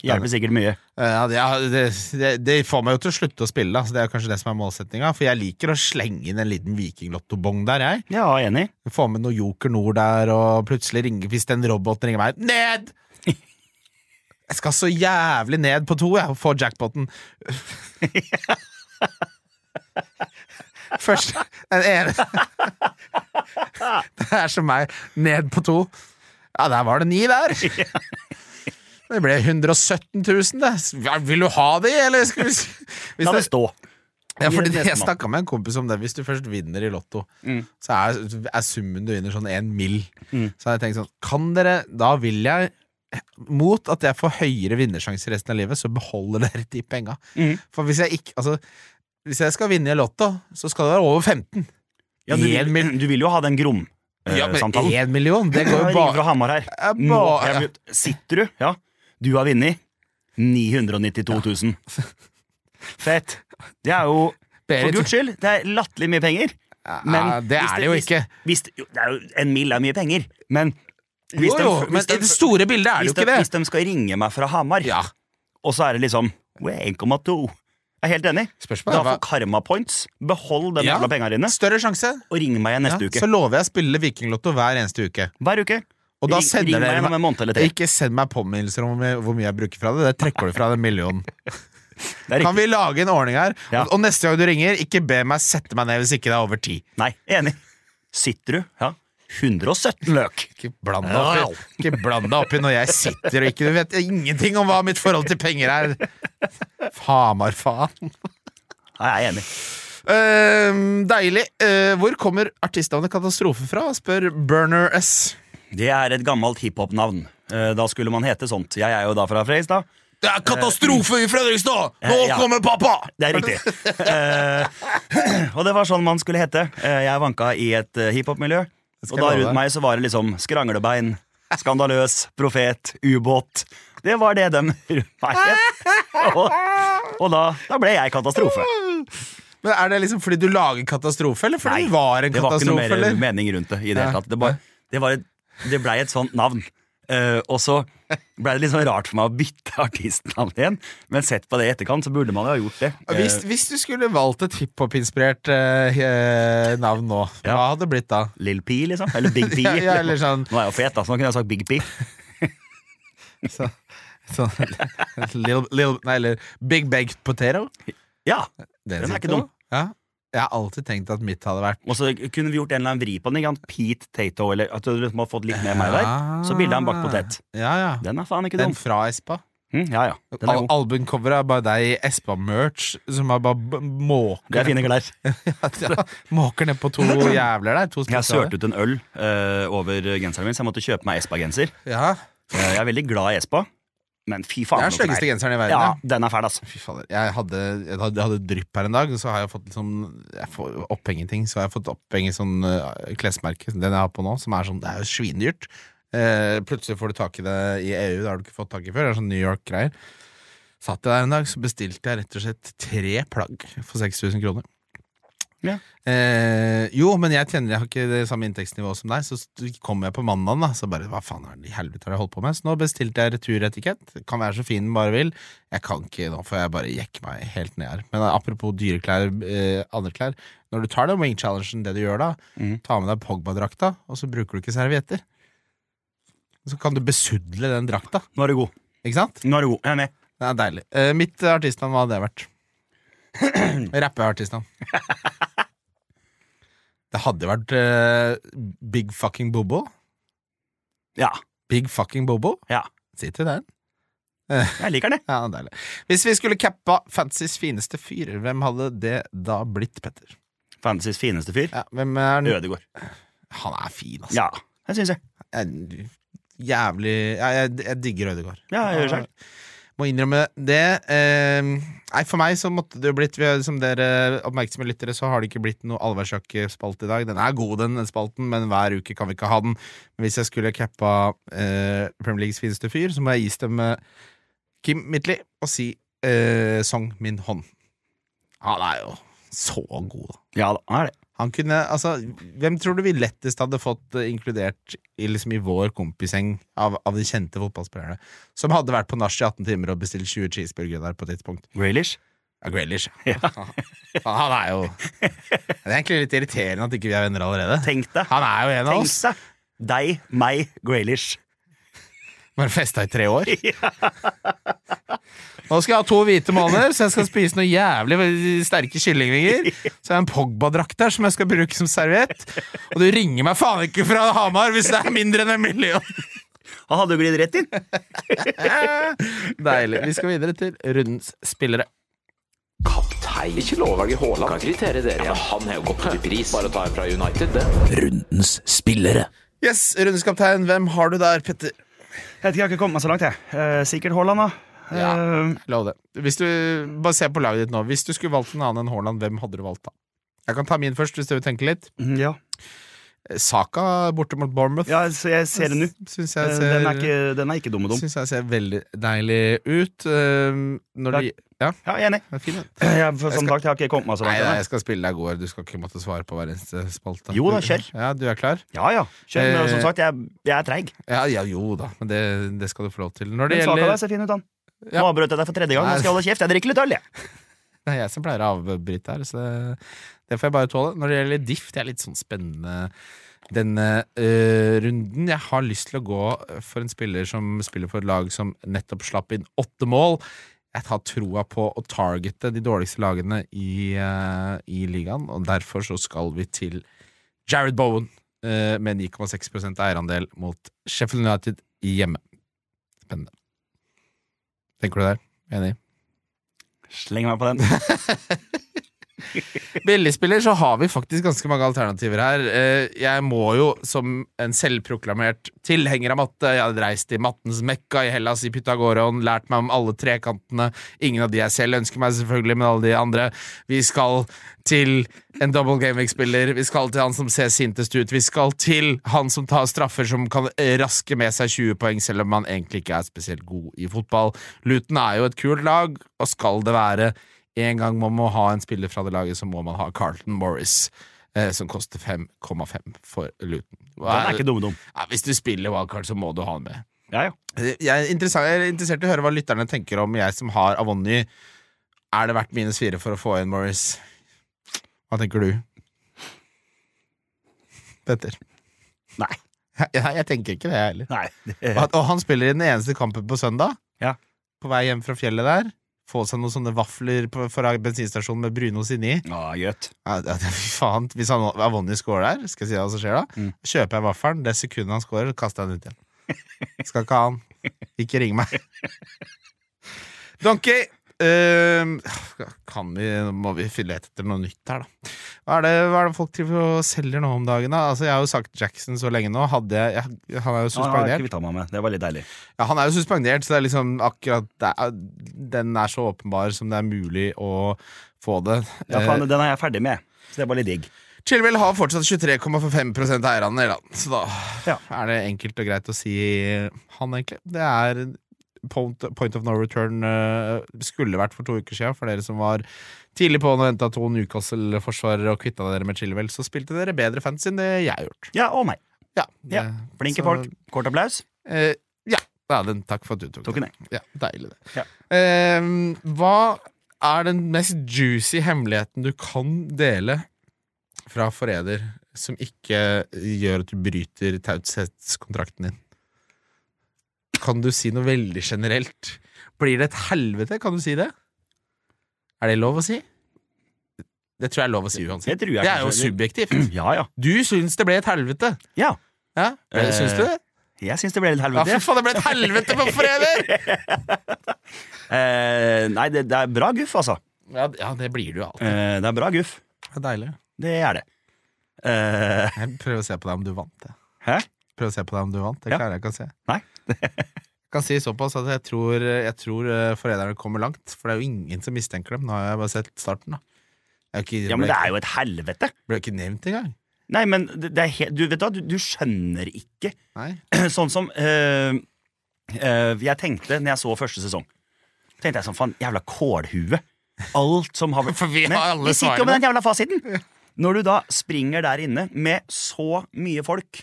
Speaker 3: Hjelper sikkert mye.
Speaker 2: Ja, det, det, det, det får meg jo til å slutte å spille, da. Så det er jo kanskje det som er målsettinga. For jeg liker å slenge inn en liten vikinglottobong der, jeg.
Speaker 3: Ja, enig.
Speaker 2: Få med noe Joker Nord der, og plutselig ringer hvis den roboten ringer meg Ned! Jeg skal så jævlig ned på to, jeg, og få jackpoten. Først den ene Det er som meg. Ned på to. Ja, der var det ni der. Det ble 117 000, det. Ja, Vil du ha de, eller skal vi s- hvis
Speaker 3: La
Speaker 2: det-
Speaker 3: det stå.
Speaker 2: ja, fordi
Speaker 3: Gi det til
Speaker 2: Jeg
Speaker 3: nestemann.
Speaker 2: snakka med en kompis om det. Hvis du først vinner i Lotto, så er, er summen du vinner, sånn én mill.
Speaker 3: Mm.
Speaker 2: Så har jeg tenkt sånn Kan dere Da vil jeg, mot at jeg får høyere vinnersjanse resten av livet, så beholder dere de penga.
Speaker 3: Mm.
Speaker 2: For hvis jeg ikke Altså, hvis jeg skal vinne i Lotto, så skal det være over 15.
Speaker 3: Ja, du,
Speaker 2: En
Speaker 3: vil, du vil jo ha den eh,
Speaker 2: Ja, men
Speaker 3: Grom-samtalen.
Speaker 2: én million, det går
Speaker 3: Jeg
Speaker 2: jo
Speaker 3: ringer
Speaker 2: bare
Speaker 3: fra Hamar her.
Speaker 2: Ja,
Speaker 3: Nå,
Speaker 2: bare-
Speaker 3: Mm. jeg, vil- sitter du? Ja. Du har vunnet 992 000. Fett. Det er jo For
Speaker 2: Berit-
Speaker 3: guds skyld, det er latterlig mye penger.
Speaker 2: Ja, det
Speaker 3: hvis
Speaker 2: er det jo
Speaker 3: hvis-
Speaker 2: ikke.
Speaker 3: Hvis, jo, det er jo, en mil er mye penger, men hvis
Speaker 2: Jo, jo,
Speaker 3: de,
Speaker 2: men
Speaker 3: hvis de,
Speaker 2: i det store bildet er det
Speaker 3: hvis,
Speaker 2: jo
Speaker 3: de,
Speaker 2: ikke det.
Speaker 3: hvis de skal ringe meg fra Hamar,
Speaker 2: Ja,
Speaker 3: og så er det liksom «Oi, 1,2 Jeg er helt enig.
Speaker 2: spørsmålet
Speaker 3: Da
Speaker 2: er hva
Speaker 3: får Karma Points behold de
Speaker 2: Ja.
Speaker 3: jævla pengene dine,
Speaker 2: Større sjanse.
Speaker 3: og ring meg igjen
Speaker 2: Ja,
Speaker 3: neste uke.
Speaker 2: så lover jeg å spille Vikinglotto hver eneste uke.
Speaker 3: Hver uke.
Speaker 2: Og da
Speaker 3: ring,
Speaker 2: sender
Speaker 3: ring
Speaker 2: dere meg-
Speaker 3: meg igjen om en måned eller tre.
Speaker 2: Ikke send meg påminnelser om hvor mye- hvor mye jeg bruker fra det. Det trekker du fra den millionen.
Speaker 3: Det er
Speaker 2: Kan
Speaker 3: riktig.
Speaker 2: vi lage en ordning her?
Speaker 3: Ja.
Speaker 2: Og- Og neste gang du ringer, ikke be meg sette meg ned hvis ikke det er over ti.
Speaker 3: Nei, enig. Sitter du? Ja. 117 løk.
Speaker 2: Ikke bland deg opp i- ikke bland deg oppi når jeg sitter og ikke Du vet ingenting om hva mitt forhold til penger er. Hamar, faen.
Speaker 3: Nei, jeg er enig.
Speaker 2: Ehm, deilig. Eh, hvor kommer artistnavnet Katastrofe fra? spør Burner S.
Speaker 3: Det er et gammelt hiphop-navn. Eh, Da skulle man hete sånt. Jeg er jo da fra Freistad.
Speaker 2: Det er katastrofe i Fredrikstad!
Speaker 3: Nå ja. kommer
Speaker 2: pappa!
Speaker 3: Det er riktig. Eh, og det var sånn man skulle hete. Eh, jeg vanka i et eh, hiphop-miljø. Og
Speaker 2: jeg
Speaker 3: da
Speaker 2: love deg.
Speaker 3: rundt meg så var det liksom skranglebein, skandaløs, profet, ubåt. Det var det dem rundt meg het. Og, og da, da ble jeg katastrofe.
Speaker 2: Men Er det liksom fordi du lager katastrofe, eller fordi du var en
Speaker 3: det var ikke noe
Speaker 2: katastrofe?
Speaker 3: mer
Speaker 2: eller?
Speaker 3: mening rundt det i det
Speaker 2: Ja.
Speaker 3: hele tatt. Det, bare, det, var et, det ble et sånt navn. Eh, og så ble det litt sånn rart for meg å bytte artistnavn igjen, men sett på det i etterkant, så burde man jo ha gjort det. Eh,
Speaker 2: Hvis, hvis du skulle valgt et hiphop-inspirert eh, eh, navn nå,
Speaker 3: Ja.
Speaker 2: hva hadde det blitt da?
Speaker 3: Lil P, liksom. Eller Big P.
Speaker 2: Ja, ja, eller sånn.
Speaker 3: Nå er jeg jo fet, da, så nå kunne jeg sagt Big P.
Speaker 2: Så, sånn, little, little, nei, eller Big Baked Potato?
Speaker 3: Ja,
Speaker 2: Den
Speaker 3: er
Speaker 2: sitter
Speaker 3: ikke dum.
Speaker 2: også. Ja. Jeg har alltid tenkt at mitt hadde vært
Speaker 3: Og så kunne vi gjort en eller annen vri på den. Ikke sant? Pete Tato, eller at du liksom har fått litt med meg der. Så bildet av en bakt potet.
Speaker 2: Ja, ja.
Speaker 3: Den er faen ikke
Speaker 2: Den
Speaker 3: dum.
Speaker 2: fra Espa.
Speaker 3: Mm, ja, ja. Den er
Speaker 2: Al
Speaker 3: god.
Speaker 2: Albumcoveret er bare deg i Espa-merch som er bare b-
Speaker 3: Det er
Speaker 2: måker
Speaker 3: fine klær.
Speaker 2: ja, Måker nedpå to jævler der. To
Speaker 3: Jeg
Speaker 2: spesialer.
Speaker 3: sørte ut en øl eh, over genseren min, så jeg måtte kjøpe meg Espa-genser.
Speaker 2: Ja.
Speaker 3: Eh, jeg er veldig glad i Espa, men fy
Speaker 2: Det
Speaker 3: faen.
Speaker 2: er den
Speaker 3: den er-
Speaker 2: styggeste genseren i verden.
Speaker 3: Ja,
Speaker 2: ja.
Speaker 3: den er fæl, altså.
Speaker 2: Fy fader. Jeg hadde, jeg hadde, jeg hadde drypp her en dag, så har jeg fått litt sånn- Jeg får oppheng i ting. Så har jeg fått oppheng i sånn eh, klesmerke, den jeg har på nå, som er sånn Det er jo svindyrt. Eh, plutselig får du tak i det i EU, det har du ikke fått tak i før. Det er sånn New York-greier. Satt jeg der en dag, så bestilte jeg rett og slett tre plagg for 6000 kroner.
Speaker 3: Ja.
Speaker 2: Eh, jo, men jeg tjener Jeg har ikke det samme inntektsnivået som deg, så st- kom jeg på mandagen, da. Så bare hva faen er det i helvete har jeg holdt på med? Så nå bestilte jeg returetikett. Kan være så fin den bare vil. Jeg kan ikke nå, for jeg bare jekker meg helt ned her. Men apropos dyreklær, eh, andre klær. Når du tar den wing challengen, det du gjør da, ta med deg Pogba-drakta, og så bruker du ikke servietter. Så kan du besudle den drakta,
Speaker 3: Nå er du god.
Speaker 2: ikke sant?
Speaker 3: Nå er du god. Jeg er med.
Speaker 2: Det er deilig. Eh, mitt artistnavn, hva hadde det vært? Rappeartistnavn. Det hadde vært eh, Big Fucking Bobo.
Speaker 3: Ja,
Speaker 2: Big Fucking Bobo.
Speaker 3: Ja.
Speaker 2: Sitter jo der.
Speaker 3: jeg liker den. jeg.
Speaker 2: Ja, deilig. Hvis vi skulle cappa Fantasys fineste fyr, hvem hadde det da blitt, Petter?
Speaker 3: Fantasys fineste fyr.
Speaker 2: Ja, hvem er han?
Speaker 3: Ødegård.
Speaker 2: Han er fin, altså.
Speaker 3: Ja, det syns jeg.
Speaker 2: Jeg, jævlig ja, jeg, jeg digger Ødegaard.
Speaker 3: Ja, jeg gjør selv.
Speaker 2: Må innrømme det. Eh, nei, for meg så måtte det jo blitt vi har- Som dere oppmerksomme lyttere, så har det ikke blitt noe allværsjakkespalt i dag. Den er god, den spalten, men hver uke kan vi ikke ha den. Men hvis jeg skulle cappa eh, Premier Leagues fineste fyr, så må jeg istemme Kim Midtly og si eh, Song Min Hånd. Han er jo så god, da.
Speaker 3: Ja da, han er det.
Speaker 2: Han kunne, altså, hvem tror du vi lettest hadde fått eh, inkludert i, liksom, i vår kompisgjeng av, av de kjente fotballspillerne? Som hadde vært på nach i 18 timer og bestilt 20 cheeseburgere der på et tidspunkt.
Speaker 3: Graylish?
Speaker 2: Ja, Grealish. Han er jo Det er egentlig litt irriterende at ikke vi er venner allerede.
Speaker 3: Tenk deg.
Speaker 2: Han er jo en av
Speaker 3: Tenk
Speaker 2: oss.
Speaker 3: deg. Deg, meg, Graylish.
Speaker 2: Bare festa i tre år. Nå skal jeg ha to hvite måneder, så jeg skal spise noen jævlig sterke kyllingvinger. Så jeg har en Pogba-drakt der som jeg skal bruke som serviett. Og du ringer meg faen ikke fra Hamar hvis det er mindre enn en million!
Speaker 3: Han hadde jo glidd rett inn.
Speaker 2: Deilig. Vi skal videre til rundens spillere.
Speaker 1: Kaptein. Ikke lov å velge Haaland. Kan kritere dere. Ja, men han har jo gått opp i pris. Bare ta en fra United, det. Rundens spillere.
Speaker 2: Yes, rundens kaptein, hvem har du der, Petter?
Speaker 3: Jeg vet ikke, jeg har ikke kommet meg så langt, jeg. Eh, sikkert Haaland, da.
Speaker 2: Ja.
Speaker 3: Eh,
Speaker 2: Lov det. Hvis du, bare se på laget ditt nå. Hvis du skulle valgt en annen enn Haaland, hvem hadde du valgt da? Jeg kan ta min først, hvis du vil tenke litt. Eh,
Speaker 3: mm, ja.
Speaker 2: Saka borte mot Bournemouth.
Speaker 3: ja, så jeg ser det nå.
Speaker 2: Syns
Speaker 3: Eh,
Speaker 2: jeg ser,
Speaker 3: Den er ikke, den er ikke dumme dum.
Speaker 2: syns jeg ser veldig deilig ut. Um, Når de Ja,
Speaker 3: Ja, jeg er enig.
Speaker 2: den er fin, den.
Speaker 3: Jeg, for, som sagt, jeg har ikke kommet meg så
Speaker 2: Nei,
Speaker 3: langt.
Speaker 2: nei,
Speaker 3: ennå.
Speaker 2: jeg skal spille deg god her. Du skal ikke måtte svare på hver eneste spalte.
Speaker 3: Jo da, kjør.
Speaker 2: Ja, du er klar?
Speaker 3: Ja, ja. Kjør, men
Speaker 2: Eh,
Speaker 3: som sagt, jeg, jeg er treig.
Speaker 2: Ja, ja jo da, men det, det skal du få lov til. Når det
Speaker 3: Men saka der
Speaker 2: gjelder
Speaker 3: ser fin ut, han.
Speaker 2: Ja.
Speaker 3: Nå avbrøt jeg deg for tredje gang. Nå skal jeg holde kjeft. Jeg drikker litt øl, jeg.
Speaker 2: Det er jeg som pleier å avbryte her, så det, det får jeg bare tåle. Når det gjelder diff, det er litt sånn spennende denne eh, runden. Jeg har lyst til å gå for en spiller som spiller for et lag som nettopp slapp inn åtte mål. Jeg har troa på å targete de dårligste lagene i, eh, i ligaen, og derfor så skal vi til Jared Bowen eh, med 9,6 eierandel mot Sheffield United hjemme. Spennende. Tenker du der? Enig?
Speaker 3: Sleng meg på den.
Speaker 2: Billigspiller så har vi faktisk ganske mange alternativer her. Eh, Jeg må jo, som en selvproklamert tilhenger av matte, jeg hadde reist i mattens Mekka i Hellas, i Pythagoron, lært meg om alle trekantene. Ingen av de jeg selv ønsker meg, selvfølgelig, men alle de andre. Vi skal til en double gaming-spiller, vi skal til han som ser sintest ut, vi skal til han som tar straffer som kan eh, raske med seg 20 poeng, selv om man egentlig ikke er spesielt god i fotball. Luton er jo et kult lag, og skal det være en gang man må ha en spiller fra det laget, så må man ha Carlton Morris, eh, som koster 5,5 for Luton. Hva
Speaker 3: Den er ikke dumme dum.
Speaker 2: ja, hvis du spiller wildcard, så må du ha han med.
Speaker 3: Ja, ja.
Speaker 2: Eh, Jeg er, interessant- jeg er interessert i å høre hva lytterne tenker om jeg som har Avonny. Er det verdt minus fire for å få inn Morris? Hva tenker du? Petter?
Speaker 3: Nei.
Speaker 2: Jeg, jeg, jeg tenker ikke det, jeg heller.
Speaker 3: Nei.
Speaker 2: Og at- Og han spiller i den eneste kampen på søndag.
Speaker 3: Ja.
Speaker 2: På vei hjem fra fjellet der. Få seg noen sånne vafler på, fra bensinstasjonen med brunost inni.
Speaker 3: Ja, gjøt.
Speaker 2: Ja, det- det- Fy faen. Hvis han- Avonny scorer der, skal jeg si deg hva som skjer da?
Speaker 3: Mm.
Speaker 2: Kjøper jeg vaffelen, det sekundet han scorer, kaster jeg den ut igjen. Skal ikke ha han. Ikke ring meg. Donkey! ehm, kan vi, må vi fylle et etter noe nytt her, da. Hva er det, hva er det folk driver og selger nå om dagen? da? Altså, jeg har jo sagt Jackson så lenge nå. Hadde jeg, jeg, han er jo
Speaker 3: Ja, den har jeg
Speaker 2: suspendert.
Speaker 3: ikke kvittet meg med. Det var litt deilig.
Speaker 2: Ja, han er jo suspendert, så det er liksom akkurat det er, Den er så åpenbar som det er mulig å få det.
Speaker 3: Ja, faen, den er jeg ferdig med. Så det var litt digg.
Speaker 2: Eh, Chilwell har fortsatt 23,5 eierandel, da. så da
Speaker 3: Ja.
Speaker 2: er det enkelt og greit å si han, egentlig. Det er point, point of no return eh, skulle vært for to uker siden, for dere som var tidlig på og henta to Newcastle-forsvarere og kvitta dere med Chilwell, så spilte dere bedre fantasy enn det jeg har gjort.
Speaker 3: Ja, og meg.
Speaker 2: Ja,
Speaker 3: Ja,
Speaker 2: det-
Speaker 3: Flinke
Speaker 2: så-
Speaker 3: folk. Kort applaus.
Speaker 2: Eh, ja. ja den, takk for at du tok,
Speaker 3: Tok den,
Speaker 2: Ja, deilig, det.
Speaker 3: Ja.
Speaker 2: Eh, hva er den mest juicy hemmeligheten du kan dele fra forræder, som ikke gjør at du bryter taushetskontrakten din? Kan du si noe veldig generelt? Blir det et helvete? Kan du si det? Er det lov å si? Det tror jeg er lov å si uansett.
Speaker 3: Det tror jeg
Speaker 2: Det er jo
Speaker 3: kanskje.
Speaker 2: subjektivt.
Speaker 3: Ja, ja.
Speaker 2: Du syns det ble et helvete.
Speaker 3: Ja.
Speaker 2: Ja,
Speaker 3: Eh,
Speaker 2: Syns du det?
Speaker 3: Jeg syns det ble litt
Speaker 2: Ja,
Speaker 3: helvete.
Speaker 2: fy faen, det ble et helvete på forræder!
Speaker 3: Eh, nei, det, det er bra guff, altså.
Speaker 2: Ja, d- ja, det blir du jo alltid.
Speaker 3: Eh, det er bra guff.
Speaker 2: Det er deilig.
Speaker 3: Det er det. Eh,
Speaker 2: Jeg prøver å se på deg om du vant. Jeg.
Speaker 3: hæ?
Speaker 2: Prøver å se på deg om du vant. Det
Speaker 3: Ja.
Speaker 2: klarer jeg ikke å se.
Speaker 3: Nei.
Speaker 2: Jeg kan si såpass at jeg tror, jeg tror eh, forræderne kommer langt, for det er jo ingen som mistenker dem. Nå har jeg bare sett starten, da. Jeg har ikke,
Speaker 3: Ja, men det er jo et helvete.
Speaker 2: ble ikke nevnt engang.
Speaker 3: Nei, men det, det er he du, vet du, hva, du, du skjønner ikke
Speaker 2: Nei.
Speaker 3: Sånn som eh, eh, jeg tenkte når jeg så første sesong. Tenkte jeg sånn, faen, jævla kålhue. Alt som har
Speaker 2: For vi har alle
Speaker 3: Vi sitter jo
Speaker 2: svarene.
Speaker 3: med den jævla fasiten! Når du da springer der inne med så mye folk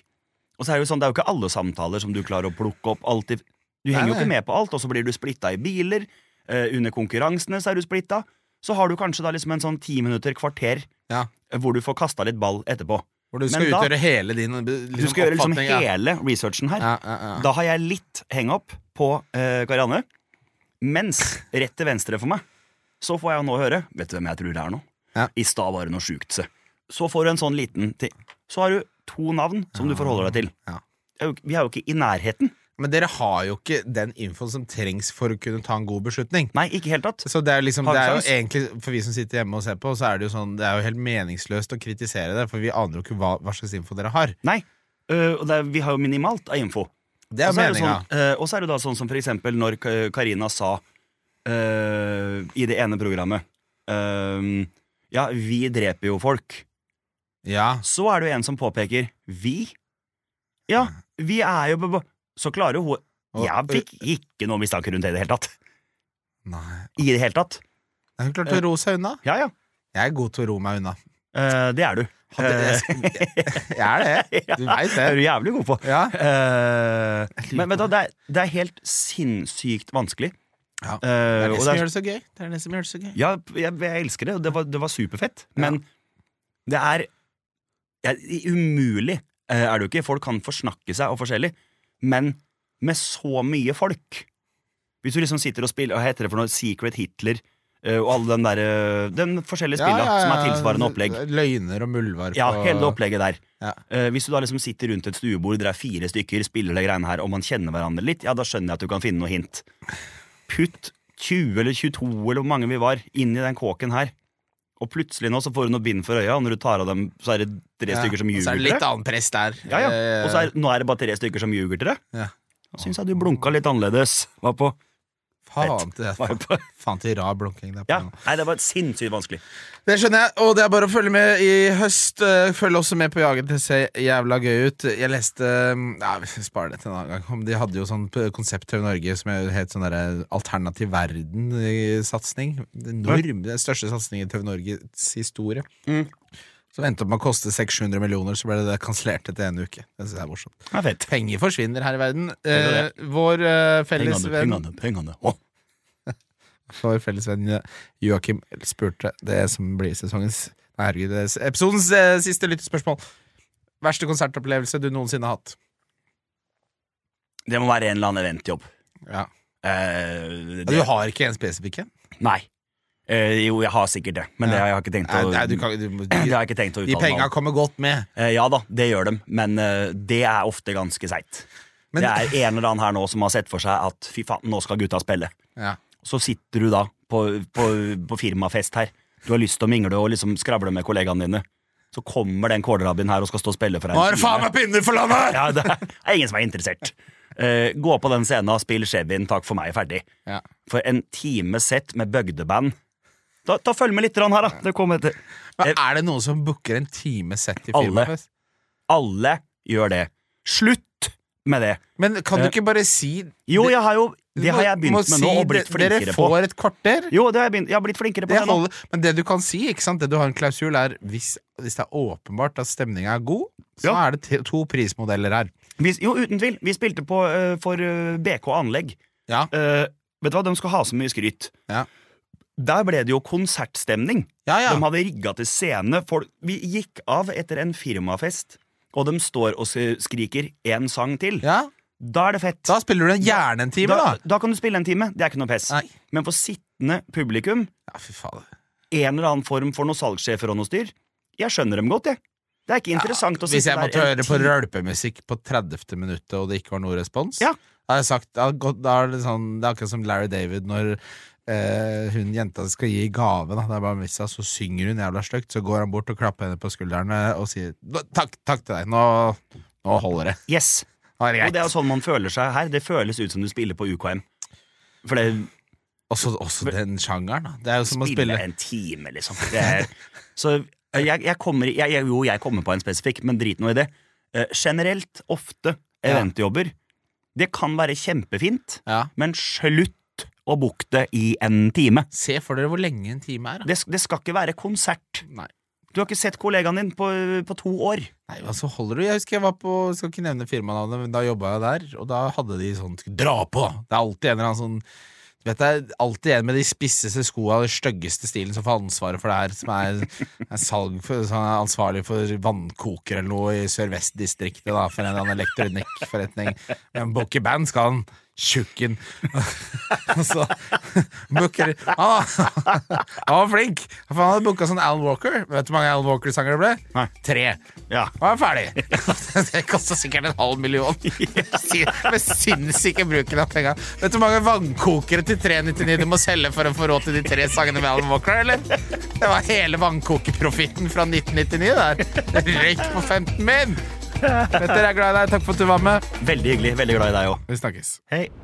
Speaker 3: Og så er det jo sånn, det er jo ikke alle samtaler som du klarer å plukke opp alltid. Du
Speaker 2: Nei,
Speaker 3: henger jo
Speaker 2: nei.
Speaker 3: ikke med på alt, og så blir du splitta i biler. Eh, under konkurransene så er du splitta. Så har du kanskje da liksom en sånn ti minutter, kvarter,
Speaker 2: Ja.
Speaker 3: eh, hvor du får kasta litt ball etterpå.
Speaker 2: Hvor du
Speaker 3: Men
Speaker 2: skal
Speaker 3: da-
Speaker 2: utgjøre hele din liksom,
Speaker 3: Du skal gjøre liksom
Speaker 2: oppfatning, ja.
Speaker 3: hele researchen her.
Speaker 2: Ja, ja, ja.
Speaker 3: Da har jeg litt hang-up på eh, Karianne. Mens rett til venstre for meg, så får jeg nå høre Vet du hvem jeg tror det er nå?
Speaker 2: Ja.
Speaker 3: I stad var det noe sjukt. se. Så får du en sånn liten ting. Så har du to navn som du forholder deg til.
Speaker 2: Ja.
Speaker 3: Det er jo- Vi er jo ikke i nærheten.
Speaker 2: Men dere har jo ikke den infoen som trengs for å kunne ta en god beslutning.
Speaker 3: Nei, ikke i helt tatt.
Speaker 2: Så det er, jo liksom,
Speaker 3: Har
Speaker 2: det
Speaker 3: vi
Speaker 2: er jo
Speaker 3: sjans?
Speaker 2: egentlig For vi som sitter hjemme og ser på, så er det jo sånn Det er jo helt meningsløst å kritisere det, for vi aner jo ikke hva, hva slags info dere har.
Speaker 3: Nei. Eh, og det er, vi har jo minimalt av info.
Speaker 2: Det er
Speaker 3: Og så det
Speaker 2: meninga.
Speaker 3: sånn, eh, og så er det da sånn som for eksempel når Ka- Karina sa eh, i det ene programmet eh, Ja, vi dreper jo folk.
Speaker 2: Ja.
Speaker 3: Så er det jo en som påpeker Vi? Ja, vi er jo b- b- Så klarer hun
Speaker 2: Og-
Speaker 3: Jeg fikk ikke noe mistanke rundt det i det hele tatt.
Speaker 2: Nei.
Speaker 3: I det hele tatt.
Speaker 2: Hun
Speaker 3: Eh.
Speaker 2: klarte å ro seg unna.
Speaker 3: Ja, ja.
Speaker 2: Jeg er god til å ro meg unna.
Speaker 3: Eh, det er du.
Speaker 2: Hadde jeg, jeg er det.
Speaker 3: Ja,
Speaker 2: Du veit
Speaker 3: det er
Speaker 2: det.
Speaker 3: du jævlig god på.
Speaker 2: Ja.
Speaker 3: Eh, men vet du, hva, det, er, det er helt sinnssykt vanskelig.
Speaker 2: Ja,
Speaker 3: Eh,
Speaker 2: Det er
Speaker 3: og
Speaker 2: det
Speaker 3: det
Speaker 2: som
Speaker 3: er-
Speaker 2: gjør det så gøy. Det er det som gjør det så gøy.
Speaker 3: ja jeg, jeg elsker det, og det var, det var superfett. Men det er ja, Umulig eh, er det jo ikke. Folk kan forsnakke seg og forskjellig. Men med så mye folk Hvis du liksom sitter og spiller Hva heter det for noe? Secret Hitler eh, og alle den derre Den forskjellige
Speaker 2: Ja,
Speaker 3: spilla
Speaker 2: ja,
Speaker 3: som
Speaker 2: ja.
Speaker 3: er tilsvarende opplegg.
Speaker 2: Løgner og muldvarp
Speaker 3: Ja,
Speaker 2: og-
Speaker 3: hele det opplegget der.
Speaker 2: Ja.
Speaker 3: Eh, hvis du da liksom sitter rundt et stuebord, dere er fire stykker, spiller det greiene her, og man kjenner hverandre litt, ja, da skjønner jeg at du kan finne noe hint. Putt 20 eller 22 eller hvor mange vi var, inn i den kåken her, og plutselig nå så får du noe bind for øya, og når du tar av dem, så er det tre
Speaker 2: Ja,
Speaker 3: stykker som
Speaker 2: og
Speaker 3: ljuger
Speaker 2: Så er det
Speaker 3: til
Speaker 2: litt
Speaker 3: deg.
Speaker 2: annen press der.
Speaker 3: Ja, ja.
Speaker 2: Eh,
Speaker 3: Og så er, nå er det bare tre stykker som ljuger til deg.
Speaker 2: Ja.
Speaker 3: Da syns jeg du blunka litt annerledes. Var på,
Speaker 2: Eh, Faen til,
Speaker 3: var
Speaker 2: faen,
Speaker 3: på.
Speaker 2: faen til rar blunking. Det, er på
Speaker 3: Ja.
Speaker 2: gang.
Speaker 3: Nei, det var sinnssykt vanskelig.
Speaker 2: det skjønner jeg, og det er bare å følge med i høst. Eh, Følg også med på Jaget. Det ser jævla gøy ut. Jeg leste eh, ja, vi Spar det til en annen gang. Om De hadde jo sånn p- konsept TV Norge som er- het sånn derre Alternativ verden-satsing. Enorm. Den største satsingen i TV Norges historie.
Speaker 3: Mm.
Speaker 2: Som endte opp med å koste 600 millioner, så ble det kansellert etter en uke. Det synes jeg er morsomt.
Speaker 3: Det er fett.
Speaker 2: Penger forsvinner her i verden. Eh,
Speaker 3: Gjør
Speaker 2: vår eh, felles
Speaker 3: Pengene,
Speaker 2: venn
Speaker 3: pengene, pengene. Å.
Speaker 2: Vår felles venn Joakim spurte det som blir sesongens Nei, herregud, det er episodens eh, siste lyttespørsmål. Verste konsertopplevelse du noensinne har hatt?
Speaker 3: Det må være en eller annen eventjobb.
Speaker 2: Ja.
Speaker 3: Eh, det-
Speaker 2: Du har ikke en spesifikk en?
Speaker 3: Nei. Eh, jo, jeg har sikkert det, men det
Speaker 2: Ja.
Speaker 3: har jeg ikke tenkt å,
Speaker 2: Nei, nei, du kan, du, må-
Speaker 3: det
Speaker 2: de,
Speaker 3: har jeg ikke tenkt å
Speaker 2: de
Speaker 3: uttale meg
Speaker 2: penga
Speaker 3: om.
Speaker 2: kommer godt med.
Speaker 3: Eh, ja da, det gjør de, men eh, det er ofte ganske seigt.
Speaker 2: Men-
Speaker 3: Det er en eller annen her nå som har sett for seg at fy faen, nå skal gutta spille.
Speaker 2: Ja.
Speaker 3: Så sitter du da på, på, på firmafest her, du har lyst til å mingle og liksom skravle med kollegaene dine. Så kommer den kålrabbien her og skal stå og spille for deg.
Speaker 2: Nå
Speaker 3: en
Speaker 2: er det faen
Speaker 3: time.
Speaker 2: meg pinner for landet!
Speaker 3: Ja, det er ingen som er interessert. Eh, gå på den scenen, spill Chevyen, takk for meg, ferdig.
Speaker 2: Ja.
Speaker 3: For en time sett med bøgdeband. Da, da Følg med litt grann her, da. Det kommer etter.
Speaker 2: Men er det noen som booker en time sett i
Speaker 3: Alle.
Speaker 2: firmafest?
Speaker 3: Alle gjør det. Slutt med det.
Speaker 2: Men kan du
Speaker 3: Eh,
Speaker 2: ikke bare si
Speaker 3: Jo, jeg har jo Det har jeg
Speaker 2: Må- må
Speaker 3: begynt med nå
Speaker 2: si
Speaker 3: og blitt
Speaker 2: det-
Speaker 3: flinkere
Speaker 2: Dere
Speaker 3: på.
Speaker 2: får et kvarter.
Speaker 3: Jo, det har jeg, begynt, jeg har blitt flinkere på
Speaker 2: Det
Speaker 3: det nå.
Speaker 2: holder, men det du kan si, ikke sant? det du har en klausul, er hvis, hvis det er åpenbart at stemninga er god, så
Speaker 3: Ja.
Speaker 2: er det te- to prismodeller her.
Speaker 3: Vi, jo, uten tvil. Vi spilte på eh, for eh, BK Anlegg.
Speaker 2: Ja.
Speaker 3: Eh, vet du hva, de skal ha så mye skryt.
Speaker 2: Ja.
Speaker 3: Der ble det jo konsertstemning.
Speaker 2: Ja, ja.
Speaker 3: De hadde rigga til scene. Folk, vi gikk av etter en firmafest, og de står og s- skriker én sang til.
Speaker 2: ja.
Speaker 3: Da er det fett.
Speaker 2: Da spiller du en gjerne en time,
Speaker 3: da,
Speaker 2: da.
Speaker 3: da kan du spille en time. Det er ikke noe pess.
Speaker 2: Nei.
Speaker 3: Men for sittende publikum,
Speaker 2: Ja, fy faen.
Speaker 3: en eller annen form for noen salgssjefer og noe styr, jeg skjønner dem godt, jeg. Det er ikke interessant å
Speaker 2: Hvis
Speaker 3: sitte
Speaker 2: jeg måtte
Speaker 3: der en
Speaker 2: høre på
Speaker 3: ti-
Speaker 2: rølpemusikk på 30. minuttet og det ikke var noe respons,
Speaker 3: Ja.
Speaker 2: da har jeg sagt da, har gått- da er det, sånn, det er akkurat som Larry David når eh, hun jenta skal gi gave. Da. Det er bare hvis hun- så synger hun jævla stygt, så går han bort og klapper henne på skuldrene og sier "Nå- takk, takk til deg, nå, nå holder det.
Speaker 3: Yes.
Speaker 2: Nå er det
Speaker 3: Og det
Speaker 2: greit.
Speaker 3: er jo sånn man føler seg her. Det føles ut som du spiller på UKM. For det
Speaker 2: Også, også den sjangeren, da. Det er jo som å
Speaker 3: spille
Speaker 2: spille
Speaker 3: en time, liksom. Det er, så eh, jeg, jeg kommer jeg, jeg, Jo, jeg kommer på en spesifikk, men drit nå i det. Eh, generelt, ofte,
Speaker 2: Ja.
Speaker 3: eventjobber. Det kan være kjempefint,
Speaker 2: ja.
Speaker 3: men slutt å booke det i en time.
Speaker 2: Se for dere hvor lenge en time er. Da.
Speaker 3: Det, sk- det skal ikke være konsert.
Speaker 2: Nei.
Speaker 3: Du har ikke sett kollegaen din på, på to år.
Speaker 2: Nei, hva så holder du? Jeg husker jeg var på Skal ikke nevne firmanavnet, men da jobba jeg der, og da hadde de sånn Dra på, da! Det er alltid en eller annen sånn du vet, det er alltid en med de spisseste skoa og den styggeste stilen som får ansvaret for det her, som er, er salg for, som er ansvarlig for vannkoker eller noe i Sørvestdistriktet, da, for en eller annen elektronikkforretning. Men Bokke Band skal han tjukken. Og så booker ah, Han var flink! For han hadde booka sånn Alan Walker. Vet du hvor mange Alan Walker-sanger det ble?
Speaker 3: Nei.
Speaker 2: Tre.
Speaker 3: Ja.
Speaker 2: Og er ferdig. det kosta sikkert en halv million. Med sinnssyke bruken av penga. Vet du hvor mange vannkokere til 399 du må selge for å få råd til de tre sangene med Alan Walker, eller? Det var hele vannkokeprofitten fra 1999 der. Røyk på 15 min! Petter, jeg er glad i deg. Takk for at du var med.
Speaker 3: Veldig hyggelig. Veldig glad i deg òg.
Speaker 2: Vi snakkes.
Speaker 3: Hei.